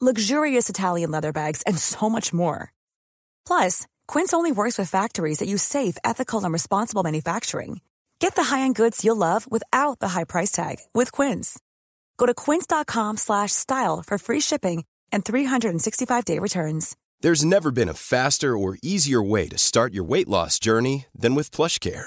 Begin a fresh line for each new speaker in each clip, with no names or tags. luxurious Italian leather bags, and so much more. Plus, Quince only works with factories that use safe, ethical, and responsible manufacturing. Get the high-end goods you'll love without the high price tag with Quince. Go to quince.com slash style for free shipping and 365-day returns.
There's never been a faster or easier way to start your weight loss journey than with PlushCare.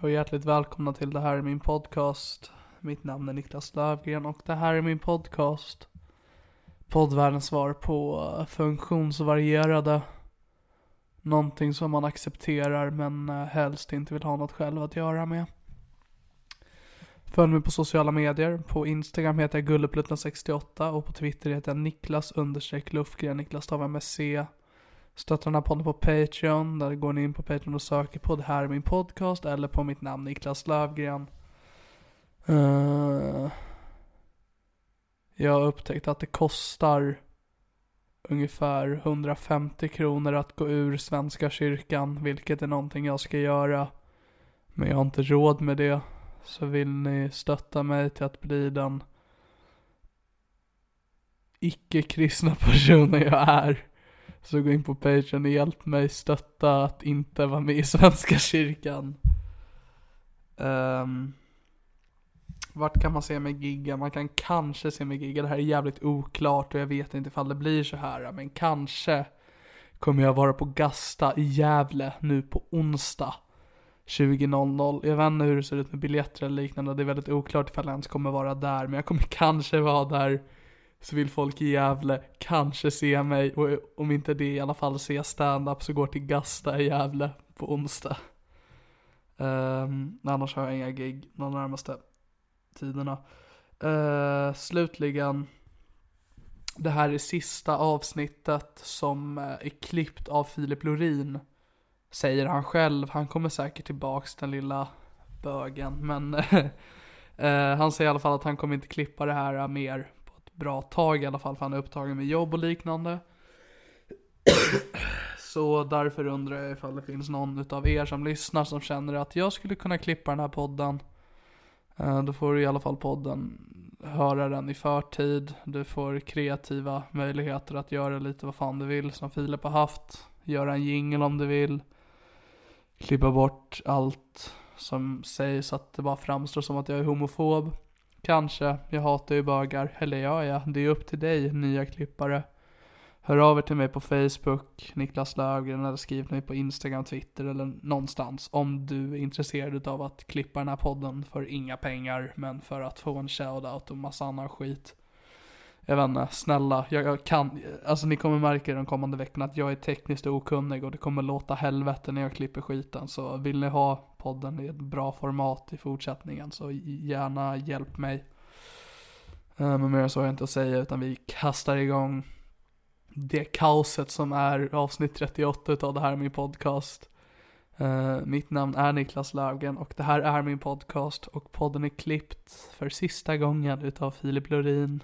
och hjärtligt välkomna till Det här är min podcast. Mitt namn är Niklas Lövgren och det här är min podcast. Poddvärldens svar på eh, funktionsvarierade. Någonting som man accepterar men eh, helst inte vill ha något själv att göra med. Följ mig på sociala medier. På Instagram heter jag gullepluttan68 och på Twitter heter jag Niklas understreck Lufgren. Niklas stavar med C. Stötta den här podden på Patreon. Där går ni in på Patreon och söker på det här är min podcast eller på mitt namn Niklas Lövgren. Eh, jag har upptäckt att det kostar ungefär 150 kronor att gå ur Svenska kyrkan, vilket är någonting jag ska göra. Men jag har inte råd med det. Så vill ni stötta mig till att bli den icke-kristna personen jag är. Så gå in på Patreon och hjälp mig stötta att inte vara med i Svenska kyrkan. Ehm, vart kan man se mig gigga? Man kan kanske se mig gigga. Det här är jävligt oklart och jag vet inte ifall det blir så här. Men kanske kommer jag vara på Gasta i Gävle nu på onsdag. 20.00. Jag vet inte hur det ser ut med biljetter eller liknande. Det är väldigt oklart ifall jag ens kommer vara där. Men jag kommer kanske vara där. Så vill folk i Gävle kanske se mig. Och om inte det i alla fall se stand-up så går till Gasta i Gävle på onsdag. Ehm, annars har jag inga gig de närmaste tiderna. Eh, slutligen. Det här är sista avsnittet som eh, är klippt av Filip Lorin säger han själv. Han kommer säkert tillbaks den lilla bögen. Men eh, han säger i alla fall att han kommer inte klippa det här eh, mer på ett bra tag i alla fall. För han är upptagen med jobb och liknande. Så därför undrar jag ifall det finns någon utav er som lyssnar som känner att jag skulle kunna klippa den här podden. Eh, Då får du i alla fall podden höra den i förtid. Du får kreativa möjligheter att göra lite vad fan du vill som Filip har haft. Göra en jingle om du vill. Klippa bort allt som sägs att det bara framstår som att jag är homofob. Kanske, jag hatar ju bögar. Eller ja, ja, det är upp till dig nya klippare. Hör av er till mig på Facebook, Niklas Löfgren, eller skriv till mig på Instagram, Twitter eller någonstans om du är intresserad av att klippa den här podden för inga pengar men för att få en shoutout och massa annan skit. Jag vet inte, snälla, jag, jag kan, alltså ni kommer märka i de kommande veckorna att jag är tekniskt okunnig och det kommer låta helvete när jag klipper skiten. Så vill ni ha podden i ett bra format i fortsättningen så gärna hjälp mig. Eh, Men mer än så har jag inte att säga utan vi kastar igång det kaoset som är avsnitt 38 utav det här är min podcast. Eh, mitt namn är Niklas Löfgren och det här är min podcast och podden är klippt för sista gången utav Filip Lorin.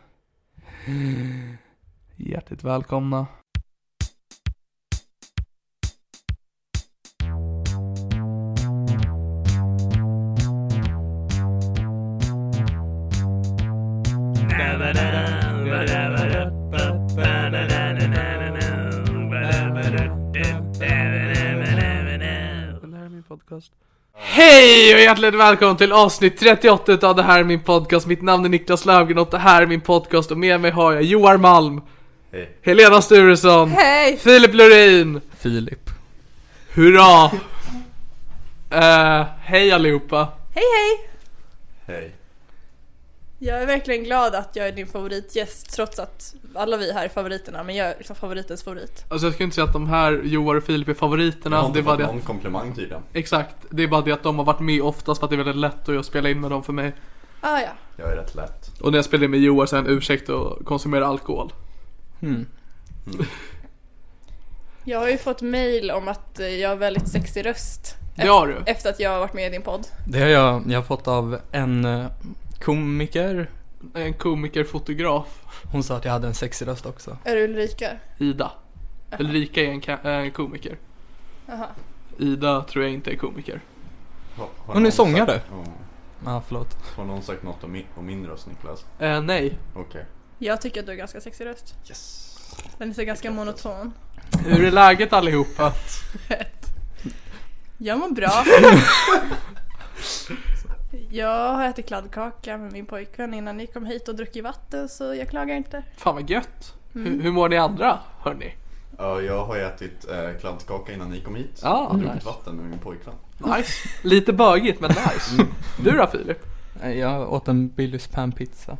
Hjärtligt välkomna. Det här är min podcast. Hej och hjärtligt välkommen till avsnitt 38 av Det här är min podcast. Mitt namn är Niklas Löfgren och det här är min podcast och med mig har jag Joar Malm.
Hej.
Helena Sturesson.
Hej!
Filip Lurin.
Filip.
Hurra! Eh, hej allihopa.
Hej hej!
Hej.
Jag är verkligen glad att jag är din favoritgäst trots att alla vi här är favoriterna men jag är liksom favoritens favorit.
Alltså jag skulle inte säga att de här, Joar och Filip, är
Jag har
favoriterna. Det
inte
är bara det
fått någon
att,
komplimang typ, tydligen.
exakt. Det är bara det att de har varit med oftast för att det är väldigt lätt att spela in med dem för mig.
Ah, ja.
Jag är rätt lätt.
Och när jag spelade in med Joar så är han ursäkt att konsumera alkohol.
Hmm.
Jag har ju fått mail om att eh, jag har väldigt sexig röst
Det har du.
efter att jag har varit med i din podd.
Det har jag, jag har fått av en eh, komiker.
En komikerfotograf,
Hon sa att jag hade en sexig röst också.
Är du Ulrika?
Ida. Ulrika är en ka- eh, komiker.
Aha.
Ida tror jag inte är komiker.
Har, har
Hon är
någon
sångare.
sagt- Ja.
Ja, förlåt.
Har någon sagt något om min, om min röst Niklas?
Eh, nej.
Okej.
Jag tycker att du har ganska sexig röst.
Yes.
Den är så ganska monoton.
Hur är läget allihopa?
Jag mår bra. jag har ätit kladdkaka med min pojkvän innan ni kom hit och druckit vatten så jag klagar inte.
Fan vad gött. Hur, hur mår ni andra, hörni?
Ja, jag har ju ätit eh, kladdkaka innan ni kom hit.
Ja,
jag har druckit
nice.
vatten med min pojkvän.
Mm. Nice. Lite bögigt men nice. Du då Filip?
Eh, Jag åt en Billys panpizza.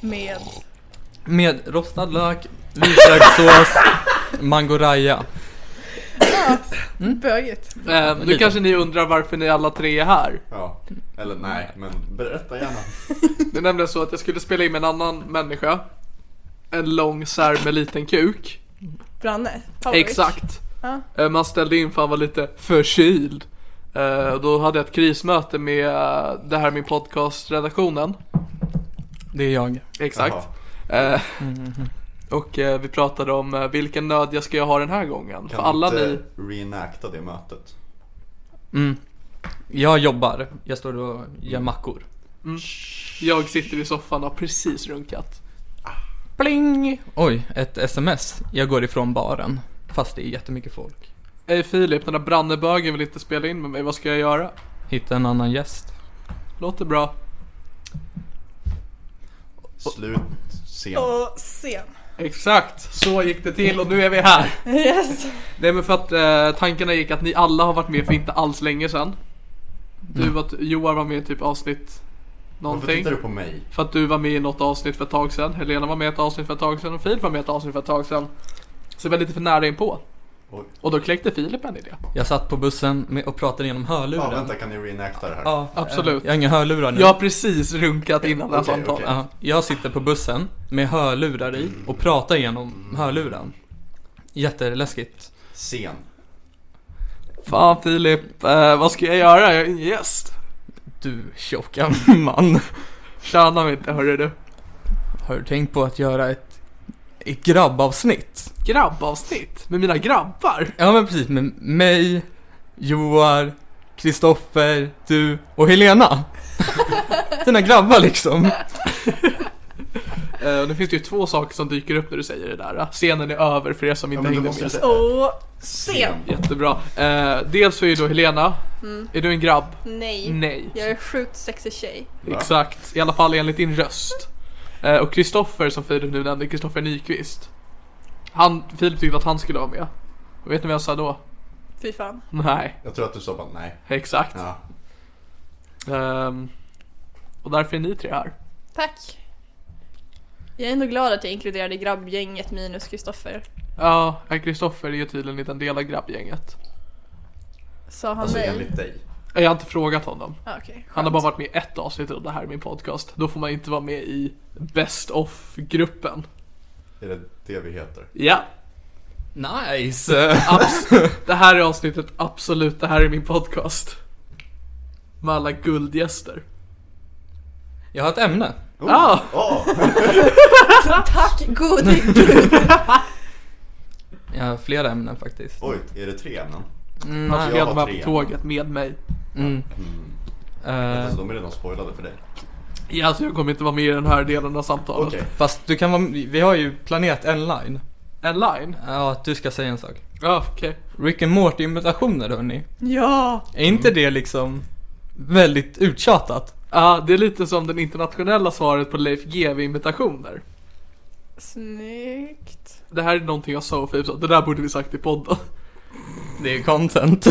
Med...
Med rostad lök, vitlökssås, mangoraya.
Mm. Bögigt.
Eh, nu
lite.
kanske ni undrar varför ni alla tre är här.
Ja, eller nej, men berätta gärna.
Det är nämligen så att jag skulle spela in med en annan människa. En lång sär med liten kuk.
Branne? favorit.
Exakt.
Ja.
Eh, Man ställde in för han var lite förkyld. Eh, Då hade jag ett krismöte med eh, det här min podcastredaktionen.
Det är jag.
Exakt. Eh, Och eh, vi pratade om eh, vilken nöd jag ska jag ha den här gången.
Kan
för alla
inte
ni...
reenacta det mötet?
Mm. Jag jobbar. Jag står och gör mackor.
Jag sitter i soffan och har precis runkat.
Pling! Oj, ett sms. Jag går ifrån baren. Fast det är jättemycket folk.
Ey Filip, den där brannebögen vill inte spela in med mig. Vad ska jag göra?
Hitta en annan gäst.
Låter bra.
Slut sent.
Och sen.
Exakt, så gick det till och nu är vi här.
Yes.
Nej men för att eh, tankarna gick att ni alla har varit med för inte alls länge sedan. Du var, Joar var med i typ avsnitt
Mm. Varför
någonting.
tittar du på mig?
För att du var med i något avsnitt för ett tag sedan. Helena var med i ett avsnitt för ett tag sedan och Filip var med i ett avsnitt för ett tag sedan. Så vi var lite för nära inpå.
Oj.
Och då kläckte Filip en idé.
Jag satt på bussen med och pratade genom hörluren.
Ja, vänta, kan ni reenacta det här?
Ja,
Absolut.
eh, Jag har inga hörlurar nu.
Jag har precis runkat innan det här
Okej,
samtalet.
okej.
Ja, jag sitter på bussen med hörlurar i och pratar genom hörluren. Jätteläskigt.
Sen.
Fan Filip, eh, vad ska jag göra? Jag är ingen gäst.
Du tjocka man.
Tjäna mig inte hörru du.
Har du tänkt på att göra ett, ett grabbavsnitt?
Grabbavsnitt med mina grabbar.
Ja men precis, med mig, Joar, Kristoffer, du och Helena. Dina grabbar liksom.
Eh, och nu finns det ju två saker som dyker upp när du säger det där. eh. Scenen är över för er som
Ja,
inte
men då
hängde
måste
med.
jag säga.
Och sen.
Jättebra. Eh, dels så är ju då Helena. Är du en grabb?
Nej.
Nej.
Jag är en sjukt sexig tjej.
Va?
Exakt. I alla fall enligt din röst. Eh, och Kristoffer som Filip nu nämnde, Kristoffer Nyqvist. Han, Filip tyckte att han skulle vara med. Och vet ni vad jag sa då?
Fy fan.
Nej,
Jag tror att du sa bara nej.
exakt.
Ja.
Ehm, och därför är ni tre här.
Tack. Jag är ändå glad att jag inkluderade grabbgänget minus Kristoffer.
Ja, eh, Kristoffer är ju tydligen inte en del av grabbgänget.
Sa han
Alltså
nej?
enligt dig.
Eh, Jag har inte frågat honom.
Ah, Okej.
Han har bara varit med i ett avsnitt av det här min podcast. Då får man inte vara med i Best of-gruppen.
Är det det vi heter?
Ja,
Nice!
abs- det här är avsnittet Absolut, det här är min podcast. Med alla guldgäster. Ah!
Jag har ett ämne.
Oh.
Ja,
Ja!
Tack gode gud.
Jag har flera ämnen faktiskt.
Oj, är det tre ämnen?
Mm,
han tog
nej.
jag
med
har
mig
tre.
på tåget med mig.
mm. Eh,
Alltså de är redan spoilade för dig.
Ja, alltså jag kommer inte vara med i den här delen av samtalet.
Okej.
fast du kan vara, vi har ju planerat en line.
En line?
Ja, att du ska säga en sak.
Ja, okej.
Rick and Morty imitationer hörni.
ja.
Är
Mm.
inte det liksom väldigt uttjatat?
Ja, det är lite som det internationella svaret på Leif GW imitationer.
Snyggt.
Det här är någonting jag sa och Filip sa, det där borde vi sagt i podden.
Det är content.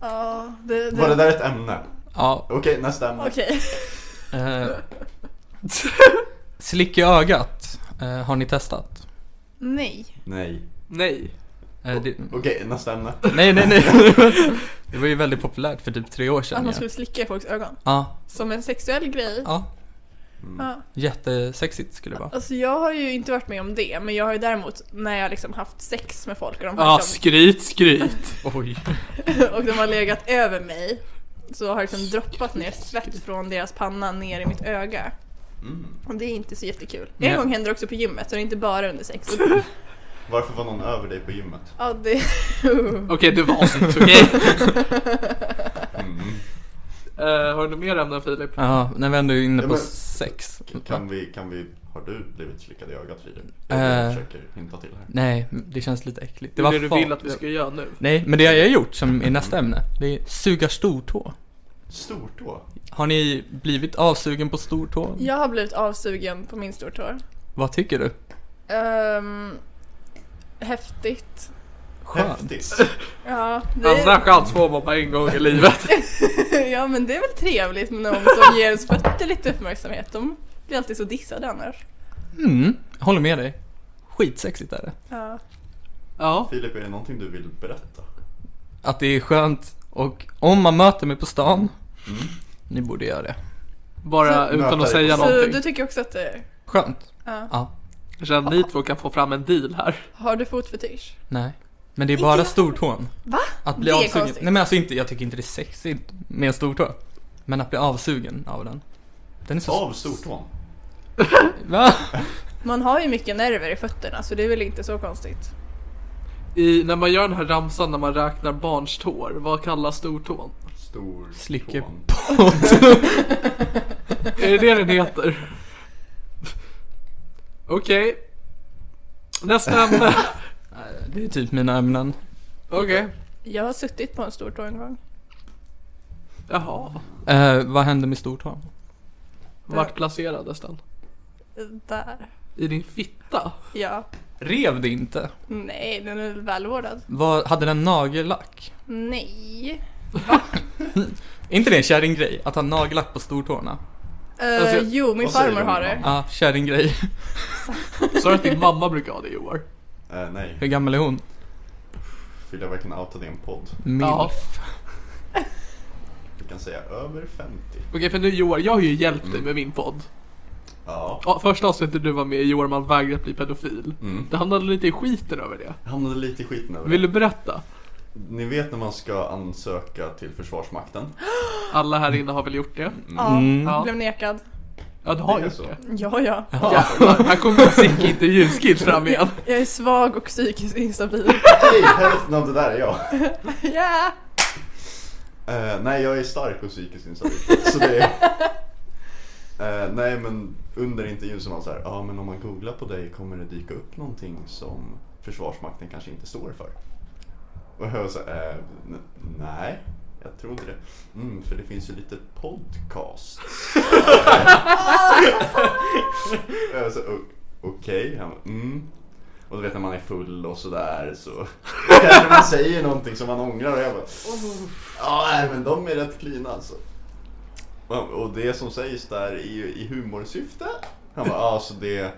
Ja, det...
Var det där ett ämne?
ja.
Okej, nästa ämne.
Okej.
Eh, slick i ögat eh, har ni testat.
Nej.
Nej.
Nej.
Eh, det,
Okej, nästa ämne.
nej, nej, nej. det var ju väldigt populärt för typ tre år
Att
sedan.
man
ju.
skulle slicka i folks ögon.
Ja,
Som en sexuell grej.
ja.
Ja.
Jättesexigt skulle det vara.
Alltså jag har ju inte varit med om det, men jag har ju däremot när jag liksom haft sex med folk och de, har
Ja,
liksom,
skryt, skryt.
Oj.
och de har legat över mig så har det liksom droppat ner svett från deras panna ner i mitt öga. Och det är inte så jättekul.
Nej.
En gång hände det också på gymmet, så det är inte bara under sex.
Varför var någon över dig på gymmet?
ja, det...
Okej, det var avsnitt, okej?
Mm.
Eh, har du något mer ämnen Filip?
Ja, när vi ändå är inne
Ja,
på
men-
sex.
Kan vi, kan vi, har du blivit slickad i ögat Filip? Det är det
Eh.
jag försöker hinta till här.
Nej, det känns lite äckligt.
Det är det du
fan-
vill att vi ska göra nu.
Nej, men det har jag gjort som i nästa ämne. Det är suga stortå.
Stortå?
Har ni blivit avsugen på stortå?
Jag har blivit avsugen på min stortår.
Vad tycker du?
Ehm, häftigt.
Skönt.
Häftigt.
Ja,
Andra
det,
chans får man bara en gång i livet.
ja, men det är väl trevligt med någon som ger ens fötter lite uppmärksamhet. De blir alltid så dissade annars.
Mm, jag håller med dig. Skitsexigt är det.
Ja.
Ja.
Filip, är det någonting du vill berätta?
Att det är skönt och om man möter mig på stan,
Mm.
ni borde göra det.
Bara
Så-
utan att
Nöta dig.
säga
Ja,
Så
någonting.
du tycker också att eh, det är...
Skönt?
Ja.
Ja.
Jag känner att ni två kan få fram en deal här.
Har du fotfetisch?
Nej. Men det är bara
jag.
stortån.
Va?
Att
Det
bli
är
avsugen.
konstigt.
Nej men alltså inte, jag tycker inte det är sexigt med en stortå. Men att bli avsugen av den. Den är så...
Av stortån?
Va?
Man har ju mycket nerver i fötterna så det är väl inte så konstigt.
I, när man gör den här ramsan när man räknar barns tår, vad kallas stortån?
Stortån.
Slicke.
Är det det den heter? Okej. Nästa ämne.
Det är typ mina ämnen.
Okej.
Jag har suttit på en stor tå en gång.
Jaha.
Eh, vad hände med stortån?
Vart placerades den?
Där.
I din fitta?
Ja.
Rev det inte?
Nej, den är väl välvårdad.
Vad, hade den nagellack?
Nej.
Är inte det en kärringgrej? Att ha nagellack på stortårna?
Eh,
Alltså,
jo, min
vad säger
farmor
du,
har det.
mamma?
Ja, kärringgrej.
Sa du att din mamma brukar ha det Joar?
Eh, nej,
Hur gammal är hon?
vill jag verkligen outa din podd?
Ja.
Milf.
Du kan säga över 50.
Okej för nu Joar, jag har ju hjälpt dig med min podd.
Ja.
Ja, första avsnittet du var med i Joar man vägrar bli pedofil.
Mm.
Det hamnade lite i skiten över det.
Jag hamnade lite i skiten över
Vill
det.
du berätta?
Ni vet när man ska ansöka till Försvarsmakten?
Alla här inne har väl gjort det?
Mm.
Ja,
Ja.
blev nekad.
Ja du har
Det är
gjort
så.
det.
Ja, ja.
Jävlar, här kommer Sick intervjuskills fram igen.
Jag är svag och psykiskt instabil.
Hej, hälften av det där är jag!
Ja!
Eh, nej, jag är stark och psykiskt instabil. Så det är... Eh, nej, men under intervjun så var han så här, ja men om man googlar på dig kommer det dyka upp någonting som Försvarsmakten kanske inte står för. Och jag var så här, eh, n- nej, jag tror inte det. Mm, för det finns ju lite podcast. jag var så här, "O- okej, Han bara, mm. Och du vet när man är full och sådär så kanske man säger någonting som man ångrar och jag bara Ja, nej, men de är rätt cleana alltså. Ja, Och det som sägs där är ju i humorsyfte. Han bara, ja alltså det...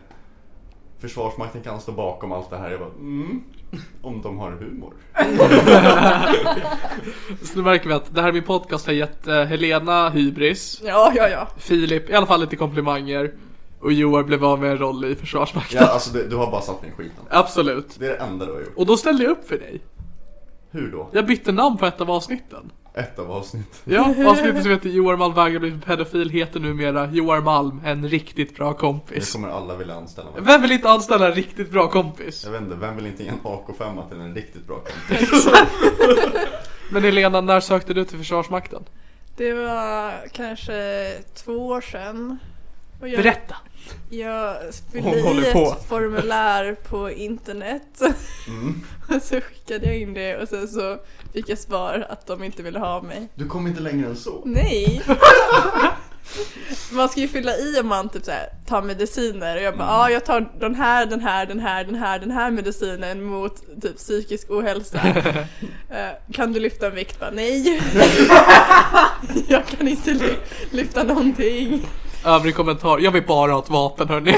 Försvarsmakten kan stå bakom allt det här. Jag bara, mm. Om de har humor.
Så nu märker vi att det här är min podcast har gett eh, Helena hybris,
Ja, ja, ja.
Filip i alla fall lite komplimanger och Joar blev av med en roll i Försvarsmakten.
Ja, alltså det, du har bara satt mig i skiten.
Absolut.
Det är det enda du har gjort.
Och då ställde jag upp för dig.
Hur då?
Jag bytte namn på ett av avsnitten.
Ett av avsnitten.
Ja, avsnittet som heter Joar Malm vägrar bli pedofil heter numera Joar Malm, en riktigt bra
Nu
kompis.
kommer alla vilja anställa mig.
Vem vill inte anställa en riktigt bra kompis?
Jag vet inte, vem vill inte ge en AK5 till en riktigt bra kompis?
Men Helena, när sökte du till Försvarsmakten?
Det var kanske två år sedan. Och jag-
Berätta!
Jag fyllde
Hon håller
i ett
på.
formulär på internet.
Mm.
och så skickade jag in det och sen så fick jag svar att de inte ville ha mig.
Du kom inte längre än så.
Nej! Man ska ju fylla i om man typ så här, tar mediciner och jag
Mm.
bara ja ah, jag tar den här, den här, den här, den här, den här medicinen mot typ psykisk ohälsa. Eh, kan du lyfta en vikt? Bara, Nej! jag kan inte ly- lyfta någonting.
Övrig kommentar, jag vill bara ha ett vapen hörni.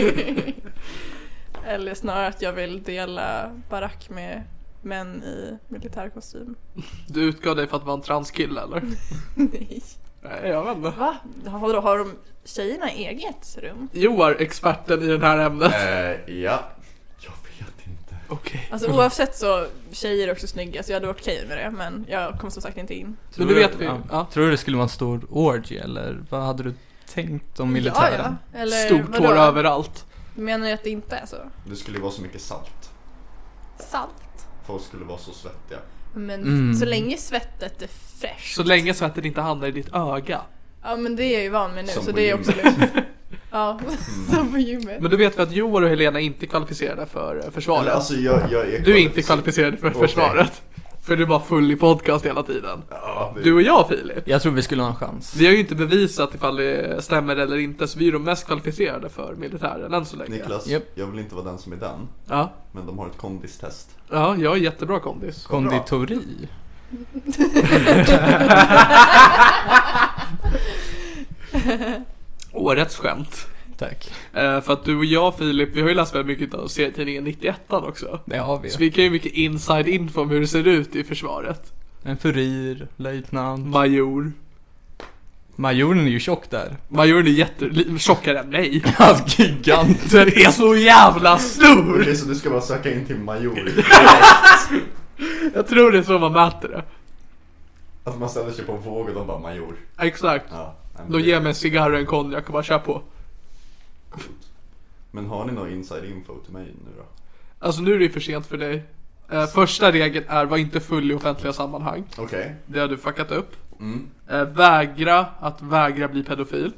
Eller snarare att jag vill dela barack med män i militärkostym.
Du utgav dig för att vara en transkille eller?
Nej.
Nej, jag vet inte.
Va? Har, har de tjejerna eget rum?
Joar, experten i det här ämnet.
Eh, ja. Jag vet inte.
Okej.
Alltså oavsett så, tjejer är också snygga så jag hade varit okej med det men jag kom som sagt inte in.
Men det vet vi ju.
ja.
Ja.
Tror du det skulle vara en stor orgy eller vad hade du tänkt om militären?
Ja, ja. Eller
Stort
vadå?
hår överallt.
Menar du att det inte är så?
Det skulle vara så mycket salt.
Salt?
Folk skulle vara så svettiga.
Men
Mm.
så länge svettet är fräscht.
Så länge svettet inte hamnar i ditt öga.
Ja men det är jag ju van med nu
Som
så
på
det är
gymmet.
också lugnt. Ja, som på gymmet.
Men du vet vi att Joar och Helena inte är kvalificerade för eh, försvaret.
Eller, alltså, jag, jag är
du är inte kvalificerad för
Okej.
försvaret. För du är bara full i podcast hela tiden.
Ja, det,
Du och jag Filip.
Jag tror vi skulle ha en chans.
Vi har ju inte bevisat ifall det stämmer eller inte, så vi är de mest kvalificerade för militären än så länge.
Niklas,
Japp.
jag vill inte vara den som är den.
Ja,
Men de har ett kondistest.
ja jag är jättebra kompis.
Konditori?
Årets skämt.
Tack.
Eh, för att du och jag Filip, vi har ju läst väldigt mycket av serietidningen 91 också.
Det har vi.
Så vi kan ju mycket inside info om hur det ser ut i försvaret.
En furir, löjtnant.
Major.
Majoren är ju tjock där. Alltså,
Majoren är jätte... tjockare än mig.
Han gigant.
Den är så jävla stor!
Okej, så du ska bara söka in till major?
Jag tror det är så man mäter det.
Att man ställer sig på en våg och de bara major.
Exakt.
Ja, nej, men
De
det-
ger mig en cigarr och en konjak och bara kör på.
Men har ni någon inside info till mig nu då?
Alltså nu är det ju för sent för dig. Eh, första regeln är var inte full i offentliga sammanhang.
Okej.
Det har du fuckat upp.
Mm.
Eh, vägra att vägra bli pedofil.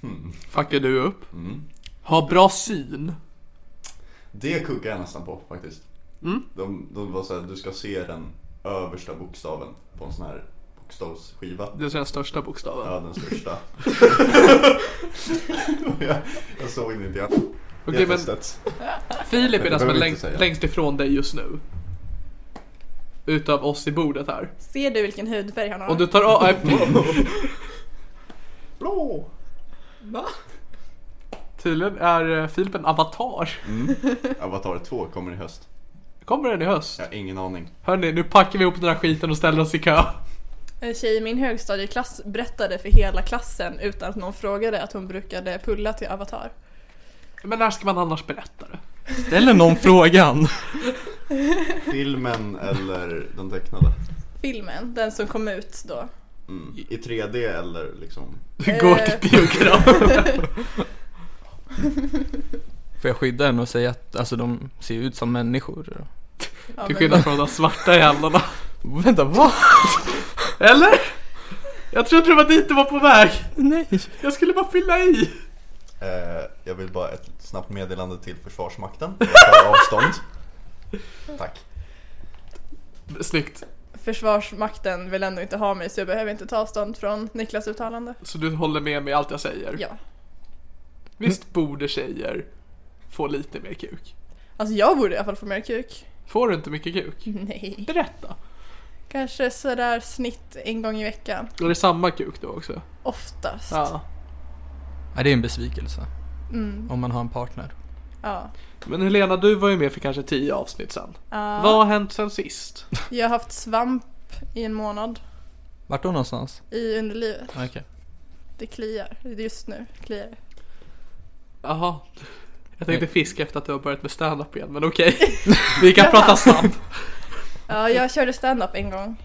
Hmm.
Fuckar du upp.
Mm.
Ha bra syn.
Det kuggar jag nästan på faktiskt.
Mm.
De, de var såhär, du ska se den översta bokstaven på en sån här bokstavsskiva.
Det är den största bokstaven.
Ja, den största. jag, jag såg den inte. Jag,
Okej
jag
men
testet.
Filip är den som är
behöver
längst,
inte säga.
längst ifrån dig just nu. Utav oss i bordet här.
Ser du vilken hudfärg han har?
Om du tar av... äh,
Blå!
Tydligen är eh, Filip en avatar.
Avatar 2 kommer i höst.
Kommer den i höst?
Jag har ingen aning.
Hörni, nu packar vi ihop den här skiten och ställer oss i kö.
En tjej i min högstadieklass berättade för hela klassen utan att någon frågade att hon brukade pulla till Avatar.
Men när ska man annars berätta det?
Ställer någon frågan?
Filmen eller den tecknade?
Filmen, den som kom ut då.
Mm. I 3D eller liksom?
Du går
Eh.
till biograf.
Får jag skydda henne och säga att alltså, de ser ut som människor?
Ja,
Till
men-
skillnad från de svarta jävlarna.
Vänta, vad?
Eller? Jag trodde det var dit du var på väg.
Nej.
Jag skulle bara fylla i.
Eh, jag vill bara ett snabbt meddelande till Försvarsmakten. Jag tar avstånd. Tack.
Snyggt.
Försvarsmakten vill ändå inte ha mig så jag behöver inte ta avstånd från Niklas uttalande.
Så du håller med mig i allt jag säger?
Ja.
Visst borde tjejer få lite mer kuk?
Alltså jag borde i alla fall få mer kuk.
Får du inte mycket kuk?
Nej.
Berätta.
Kanske sådär snitt en gång i veckan.
Och det är samma kuk då också?
Oftast.
Ja.
Nej, det är en besvikelse.
Mm,
Om man har en partner.
ja.
Men Helena, du var ju med för kanske tio avsnitt sen.
Ja.
Vad har hänt sen sist?
Jag har haft svamp i en månad
Vart då någonstans?
i underlivet.
Okej.
Det kliar. Just nu kliar det.
Jaha. Jag tänkte fiska efter att du har börjat med stand-up igen, men okej. Vi kan prata snabbt.
Ja, jag körde stand-up en gång.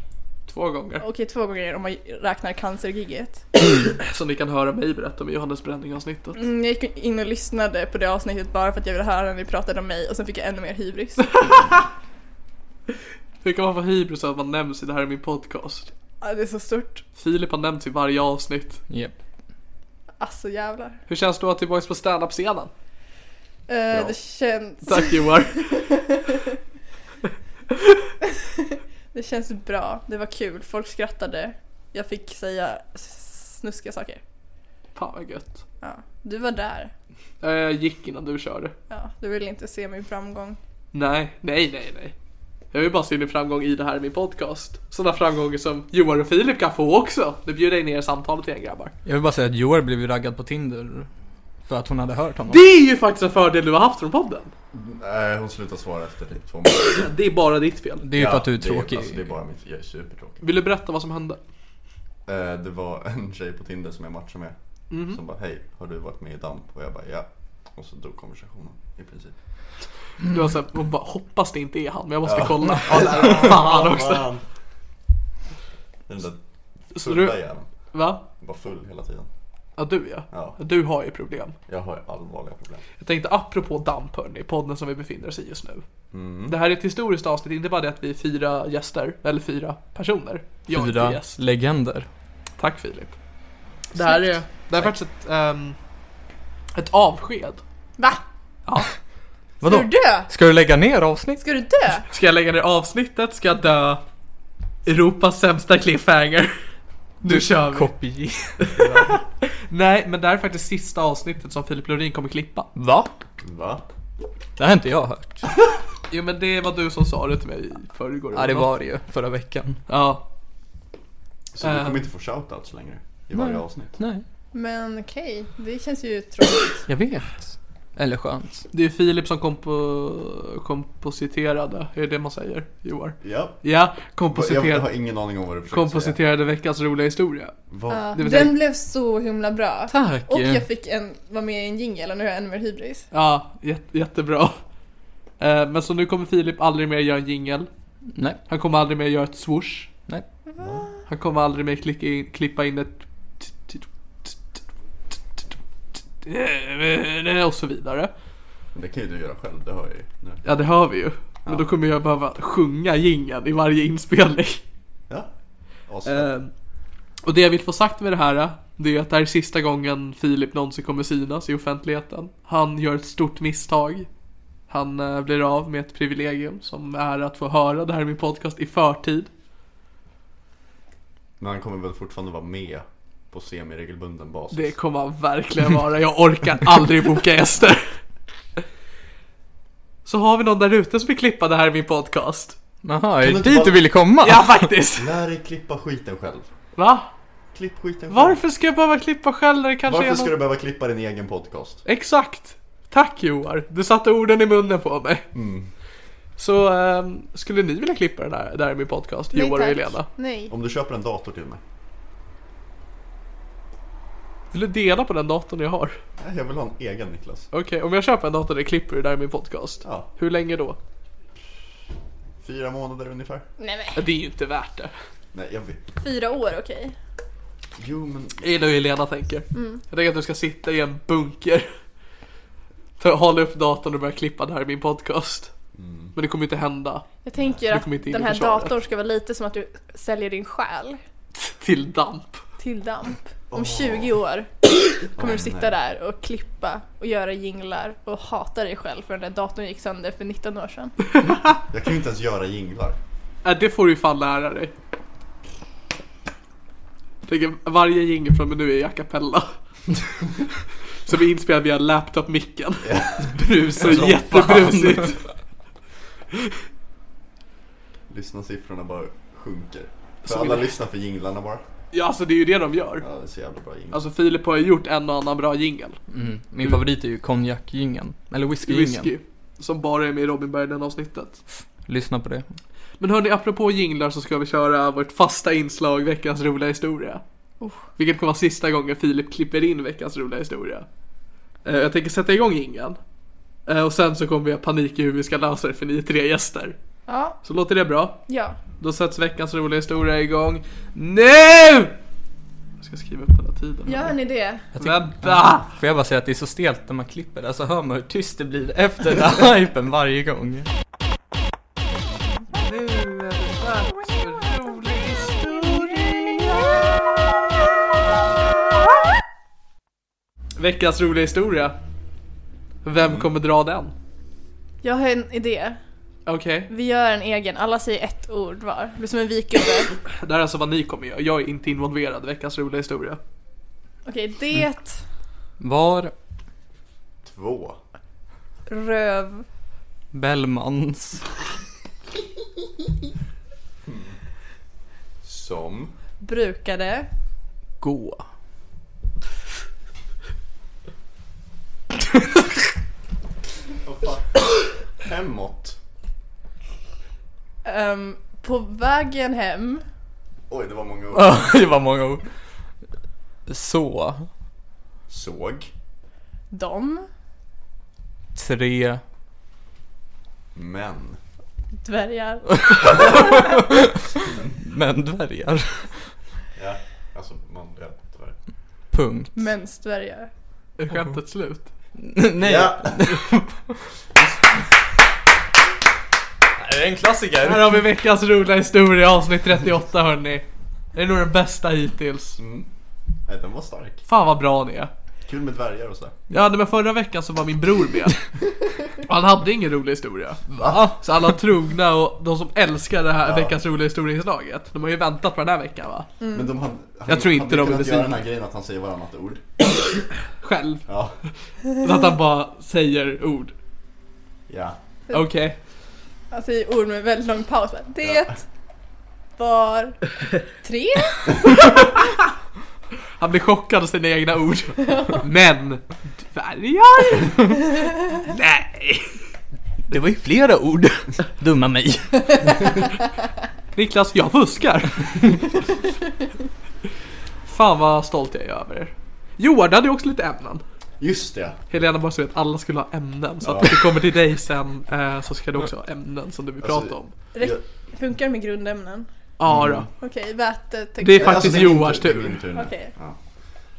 Två gånger.
Okej, två gånger om man räknar cancergigget.
Som ni kan höra mig berätta om i Johannes Bränning-avsnittet.
Mm, jag gick in och lyssnade på det avsnittet bara för att jag ville höra när ni pratade om mig och sen fick jag ännu mer hybris.
Hur kan man få hybris av att man nämns i det här är min podcast?
Ja, det är så stort.
Filip har nämnts i varje avsnitt.
Japp.
Alltså jävlar.
Hur känns det att vara tillbaka på stand-up-scenen?
Eh, det, känns,
Tack Joar.
det känns bra. Det var kul. Folk skrattade. Jag fick säga s- snuskiga saker.
Fan vad gött.
Ja. Du var där.
Eh, Jag gick innan du körde.
Ja, du ville inte se min framgång.
Nej, nej, nej, nej. Jag vill bara se din framgång i det här i min podcast. Sådana framgångar som Johan och Filip kan få också. Nu bjuder jag ner i samtalet igen grabbar.
Jag vill bara säga att Joar blev ju raggad på Tinder för att hon hade hört honom.
Det är ju faktiskt en fördel du har haft från podden.
Nej, Eh, hon slutar svara efter typ två månader.
Det är bara ditt fel.
Det är ju
Ja,
för att du är
det
tråkig.
Alltså, det är bara mitt, jag är supertråkig.
Vill du berätta vad som hände?
Eh, Det var en tjej på Tinder som jag matchade med.
Mhm.
Som bara, hej, har du varit med i DAMP? Och jag bara, ja. Och så dog konversationen i princip.
Du var såhär, hon bara hoppas det inte är han men jag måste kolla. Ja, fan också.
Fan. Den där
Så
fulla
du,
jäveln.
va?
Var full hela tiden.
Ja du ja.
Ja.
Du har ju problem.
Jag har allvarliga problem.
Jag tänkte apropå damp hörni, podden som vi befinner oss i just nu.
Mm.
Det här är ett historiskt avsnitt, inte bara det att vi är fyra gäster, eller fyra personer. Jag är
Fyra
inte gäst.
legender.
Tack Filip. Det här är, det här är faktiskt ett, ehm, ett avsked.
Va? Ska
Vadå?
du dö?
Ska du lägga ner avsnitt?
Ska du dö?
Ska jag lägga ner avsnittet? Ska jag dö? Europas sämsta cliffhanger. Nu kör vi.
Kopier.
Nej, men det här är faktiskt sista avsnittet som Filip Lorin kommer klippa.
Va?
Va?
Det har inte jag hört.
Jo men det var du som sa det till mig i förrgår.
Ja, det var det ju förra veckan.
Ja.
Så du
Eh.
kommer inte få shoutouts längre i varje avsnitt?
Nej,
Men okej, det känns ju tråkigt.
jag vet. Eller skönt.
Det är Filip som kompo- kompositerade, är det det man säger Joar?
Ja.
Ja,
Jag har
kompositerade,
ingen aning om vad du försöker säga.
kompositerade veckans roliga historia.
Vad?
vill säga-
Den blev så himla bra.
Tack.
eh,
Och jag fick en, vara med i en jingel och nu har jag ännu mer hybris.
Ja, jät- jättebra. Eh, Men så nu kommer Filip aldrig mer göra en jingel.
Nej,
Han kommer aldrig mer göra ett swoosh.
nej.
Han kommer aldrig mer klicka in, klippa in ett... Och så vidare.
Det kan ju du göra själv, det hör jag ju nu.
Ja, det hör vi ju. Men då kommer jag behöva sjunga jingeln i varje inspelning.
Ja. Asfett.
Eh, och det jag vill få sagt med det här eh, det är att det här är sista gången Filip någonsin kommer synas i offentligheten. Han gör ett stort misstag. Han eh, blir av med ett privilegium som är att få höra det här i min podcast i förtid.
Men han kommer väl fortfarande vara med på semiregelbunden basis?
Det kommer han verkligen vara. Jag orkar aldrig boka gäster. Så har vi någon där ute som vill klippa det här i min podcast.
Jaha, är
du
det
inte
dit
bara-
du ville komma?
Ja, faktiskt.
Lär dig klippa skiten själv.
Va?
Klipp skiten själv.
Varför ska jag behöva klippa själv när det kanske
Varför
är
ska
någon...
du behöva klippa din egen podcast?
Exakt! Tack Joar, du satte orden i munnen på mig. Så ehm, skulle ni vilja klippa den här, där i min podcast,
Nej,
Joar och
tack.
Helena?
Nej.
Om du köper en dator till mig.
Vill du dela på den datorn jag har?
Nej, Jag vill ha en egen Niklas.
Okej, om jag köper en dator där klipper du det där i min podcast.
Ja,
Hur länge då?
fyra månader ungefär.
Nej men,
Ja, Det är ju inte värt det.
Nej, jag vet.
fyra år okej.
Jo, men
Det är det Helena tänker.
Mm.
Jag tänker att du ska sitta i en bunker. Ta, hålla upp datorn och börja klippa det här i min podcast. Men det kommer inte hända
Jag tänker
Du
att
kommer inte in
den
i
här
försvaret.
datorn ska vara lite som att du säljer din själ
till damp.
till DAMP. Om 20 år kommer du sitta där och klippa och göra jinglar och hata dig själv för den där datorn gick sönder för 19 år sedan.
jag kan ju inte ens göra jinglar.
Ja, Äh, det får du ju fan lära dig. Tänk, varje jingel från mig nu är i a cappella. Som är inspelad via laptop-micken. Brusar
Som
jättebrusigt.
Lyssnarsiffrorna bara sjunker. För
Så
alla
vill-
lyssnar för jinglarna bara.
Ja, alltså det är ju det de gör.
Ja, det är så jävla bra jinglar.
Alltså Filip har ju gjort en och annan bra jingel.
Mm. Min favorit är ju konjakgingen. Eller
Whisky.
whiskygingen.
Som bara är med i Robin Berglund-avsnittet.
Lyssna på det.
Men hörni, apropå jinglar så ska vi köra vårt fasta inslag veckans roliga historia. Vilket kommer vara sista gången Filip klipper in veckans roliga historia. Eh, Jag tänker sätta igång jingeln. Eh, Och sen så kommer vi ha panik i hur vi ska lösa det för ni är tre gäster.
Ja,
Så låter det bra?
ja.
Då sätts veckans roliga historia igång NU! Jag ska skriva upp den här tiden.
Gör ni det?
Vänta!
Får jag bara säga att det är så stelt när man klipper det, så hör man hur tyst det blir efter den här hypen varje gång.
Nu är det dags för rolig historia! Veckans roliga historia. Vem kommer dra den?
Jag har en idé.
Okej,
Vi gör en egen, alla säger ett ord var. Det blir som en vikgubbe.
det här är alltså vad ni kommer göra. Jag är inte involverad i veckans roliga historia.
Okej, det,
Var
Två.
röv,
Bellmans
Som.
brukade,
gå?
Oh, fan. Hemåt.
ehm, på vägen hem,
Oj, det var många ord.
Ah, det var många ord. Så.
Såg.
de,
Tre.
Men.
dvärgar,
Men dvärgar.
Ja, alltså man vet tyvärr.
Punkt.
mensdvärgar.
Är skämtet slut?
Nej.
Ja.
Det är en klassiker.
Här har vi veckans roliga historia avsnitt 38 hörni. Det är nog den bästa hittills.
Mm. Nej, den var stark.
Fan vad bra ni är.
Kul med dvärgar och så. där.
Ja men förra veckan så var min bror med. Och han hade ingen rolig historia. Va? Så alla trogna och de som älskar det här veckans roliga historieinslaget. De har ju väntat på den här veckan va?
Men de hade, han,
Mm. Jag tror inte
hade
de är
kunnat
besvikna.
göra den här grejen att han säger varannat ord.
Själv.
Ja.
Så att han bara säger ord.
Ja.
Okej.
Alltså i ord med väldigt lång paus. bara, Det var tre.
Han blir chockad av sina egna ord. Men dvärgar? Nej.
Det var ju flera ord. Dumma mig.
Niklas, jag fuskar. Fan vad stolt jag är över er. Johan, du hade ju också lite ämnen.
Just det.
Helena bara så vet, alla skulle ha ämnen. Så att när vi kommer till dig sen eh, så ska du också ha ämnen som du vill
Alltså, mm.
prata om.
Räck- Funkar det med grundämnen?
Ja då.
Okej, vätet.
Det är faktiskt
Alltså, det är min
Johans
tur,
tur.
det är min tur nu.
Okej.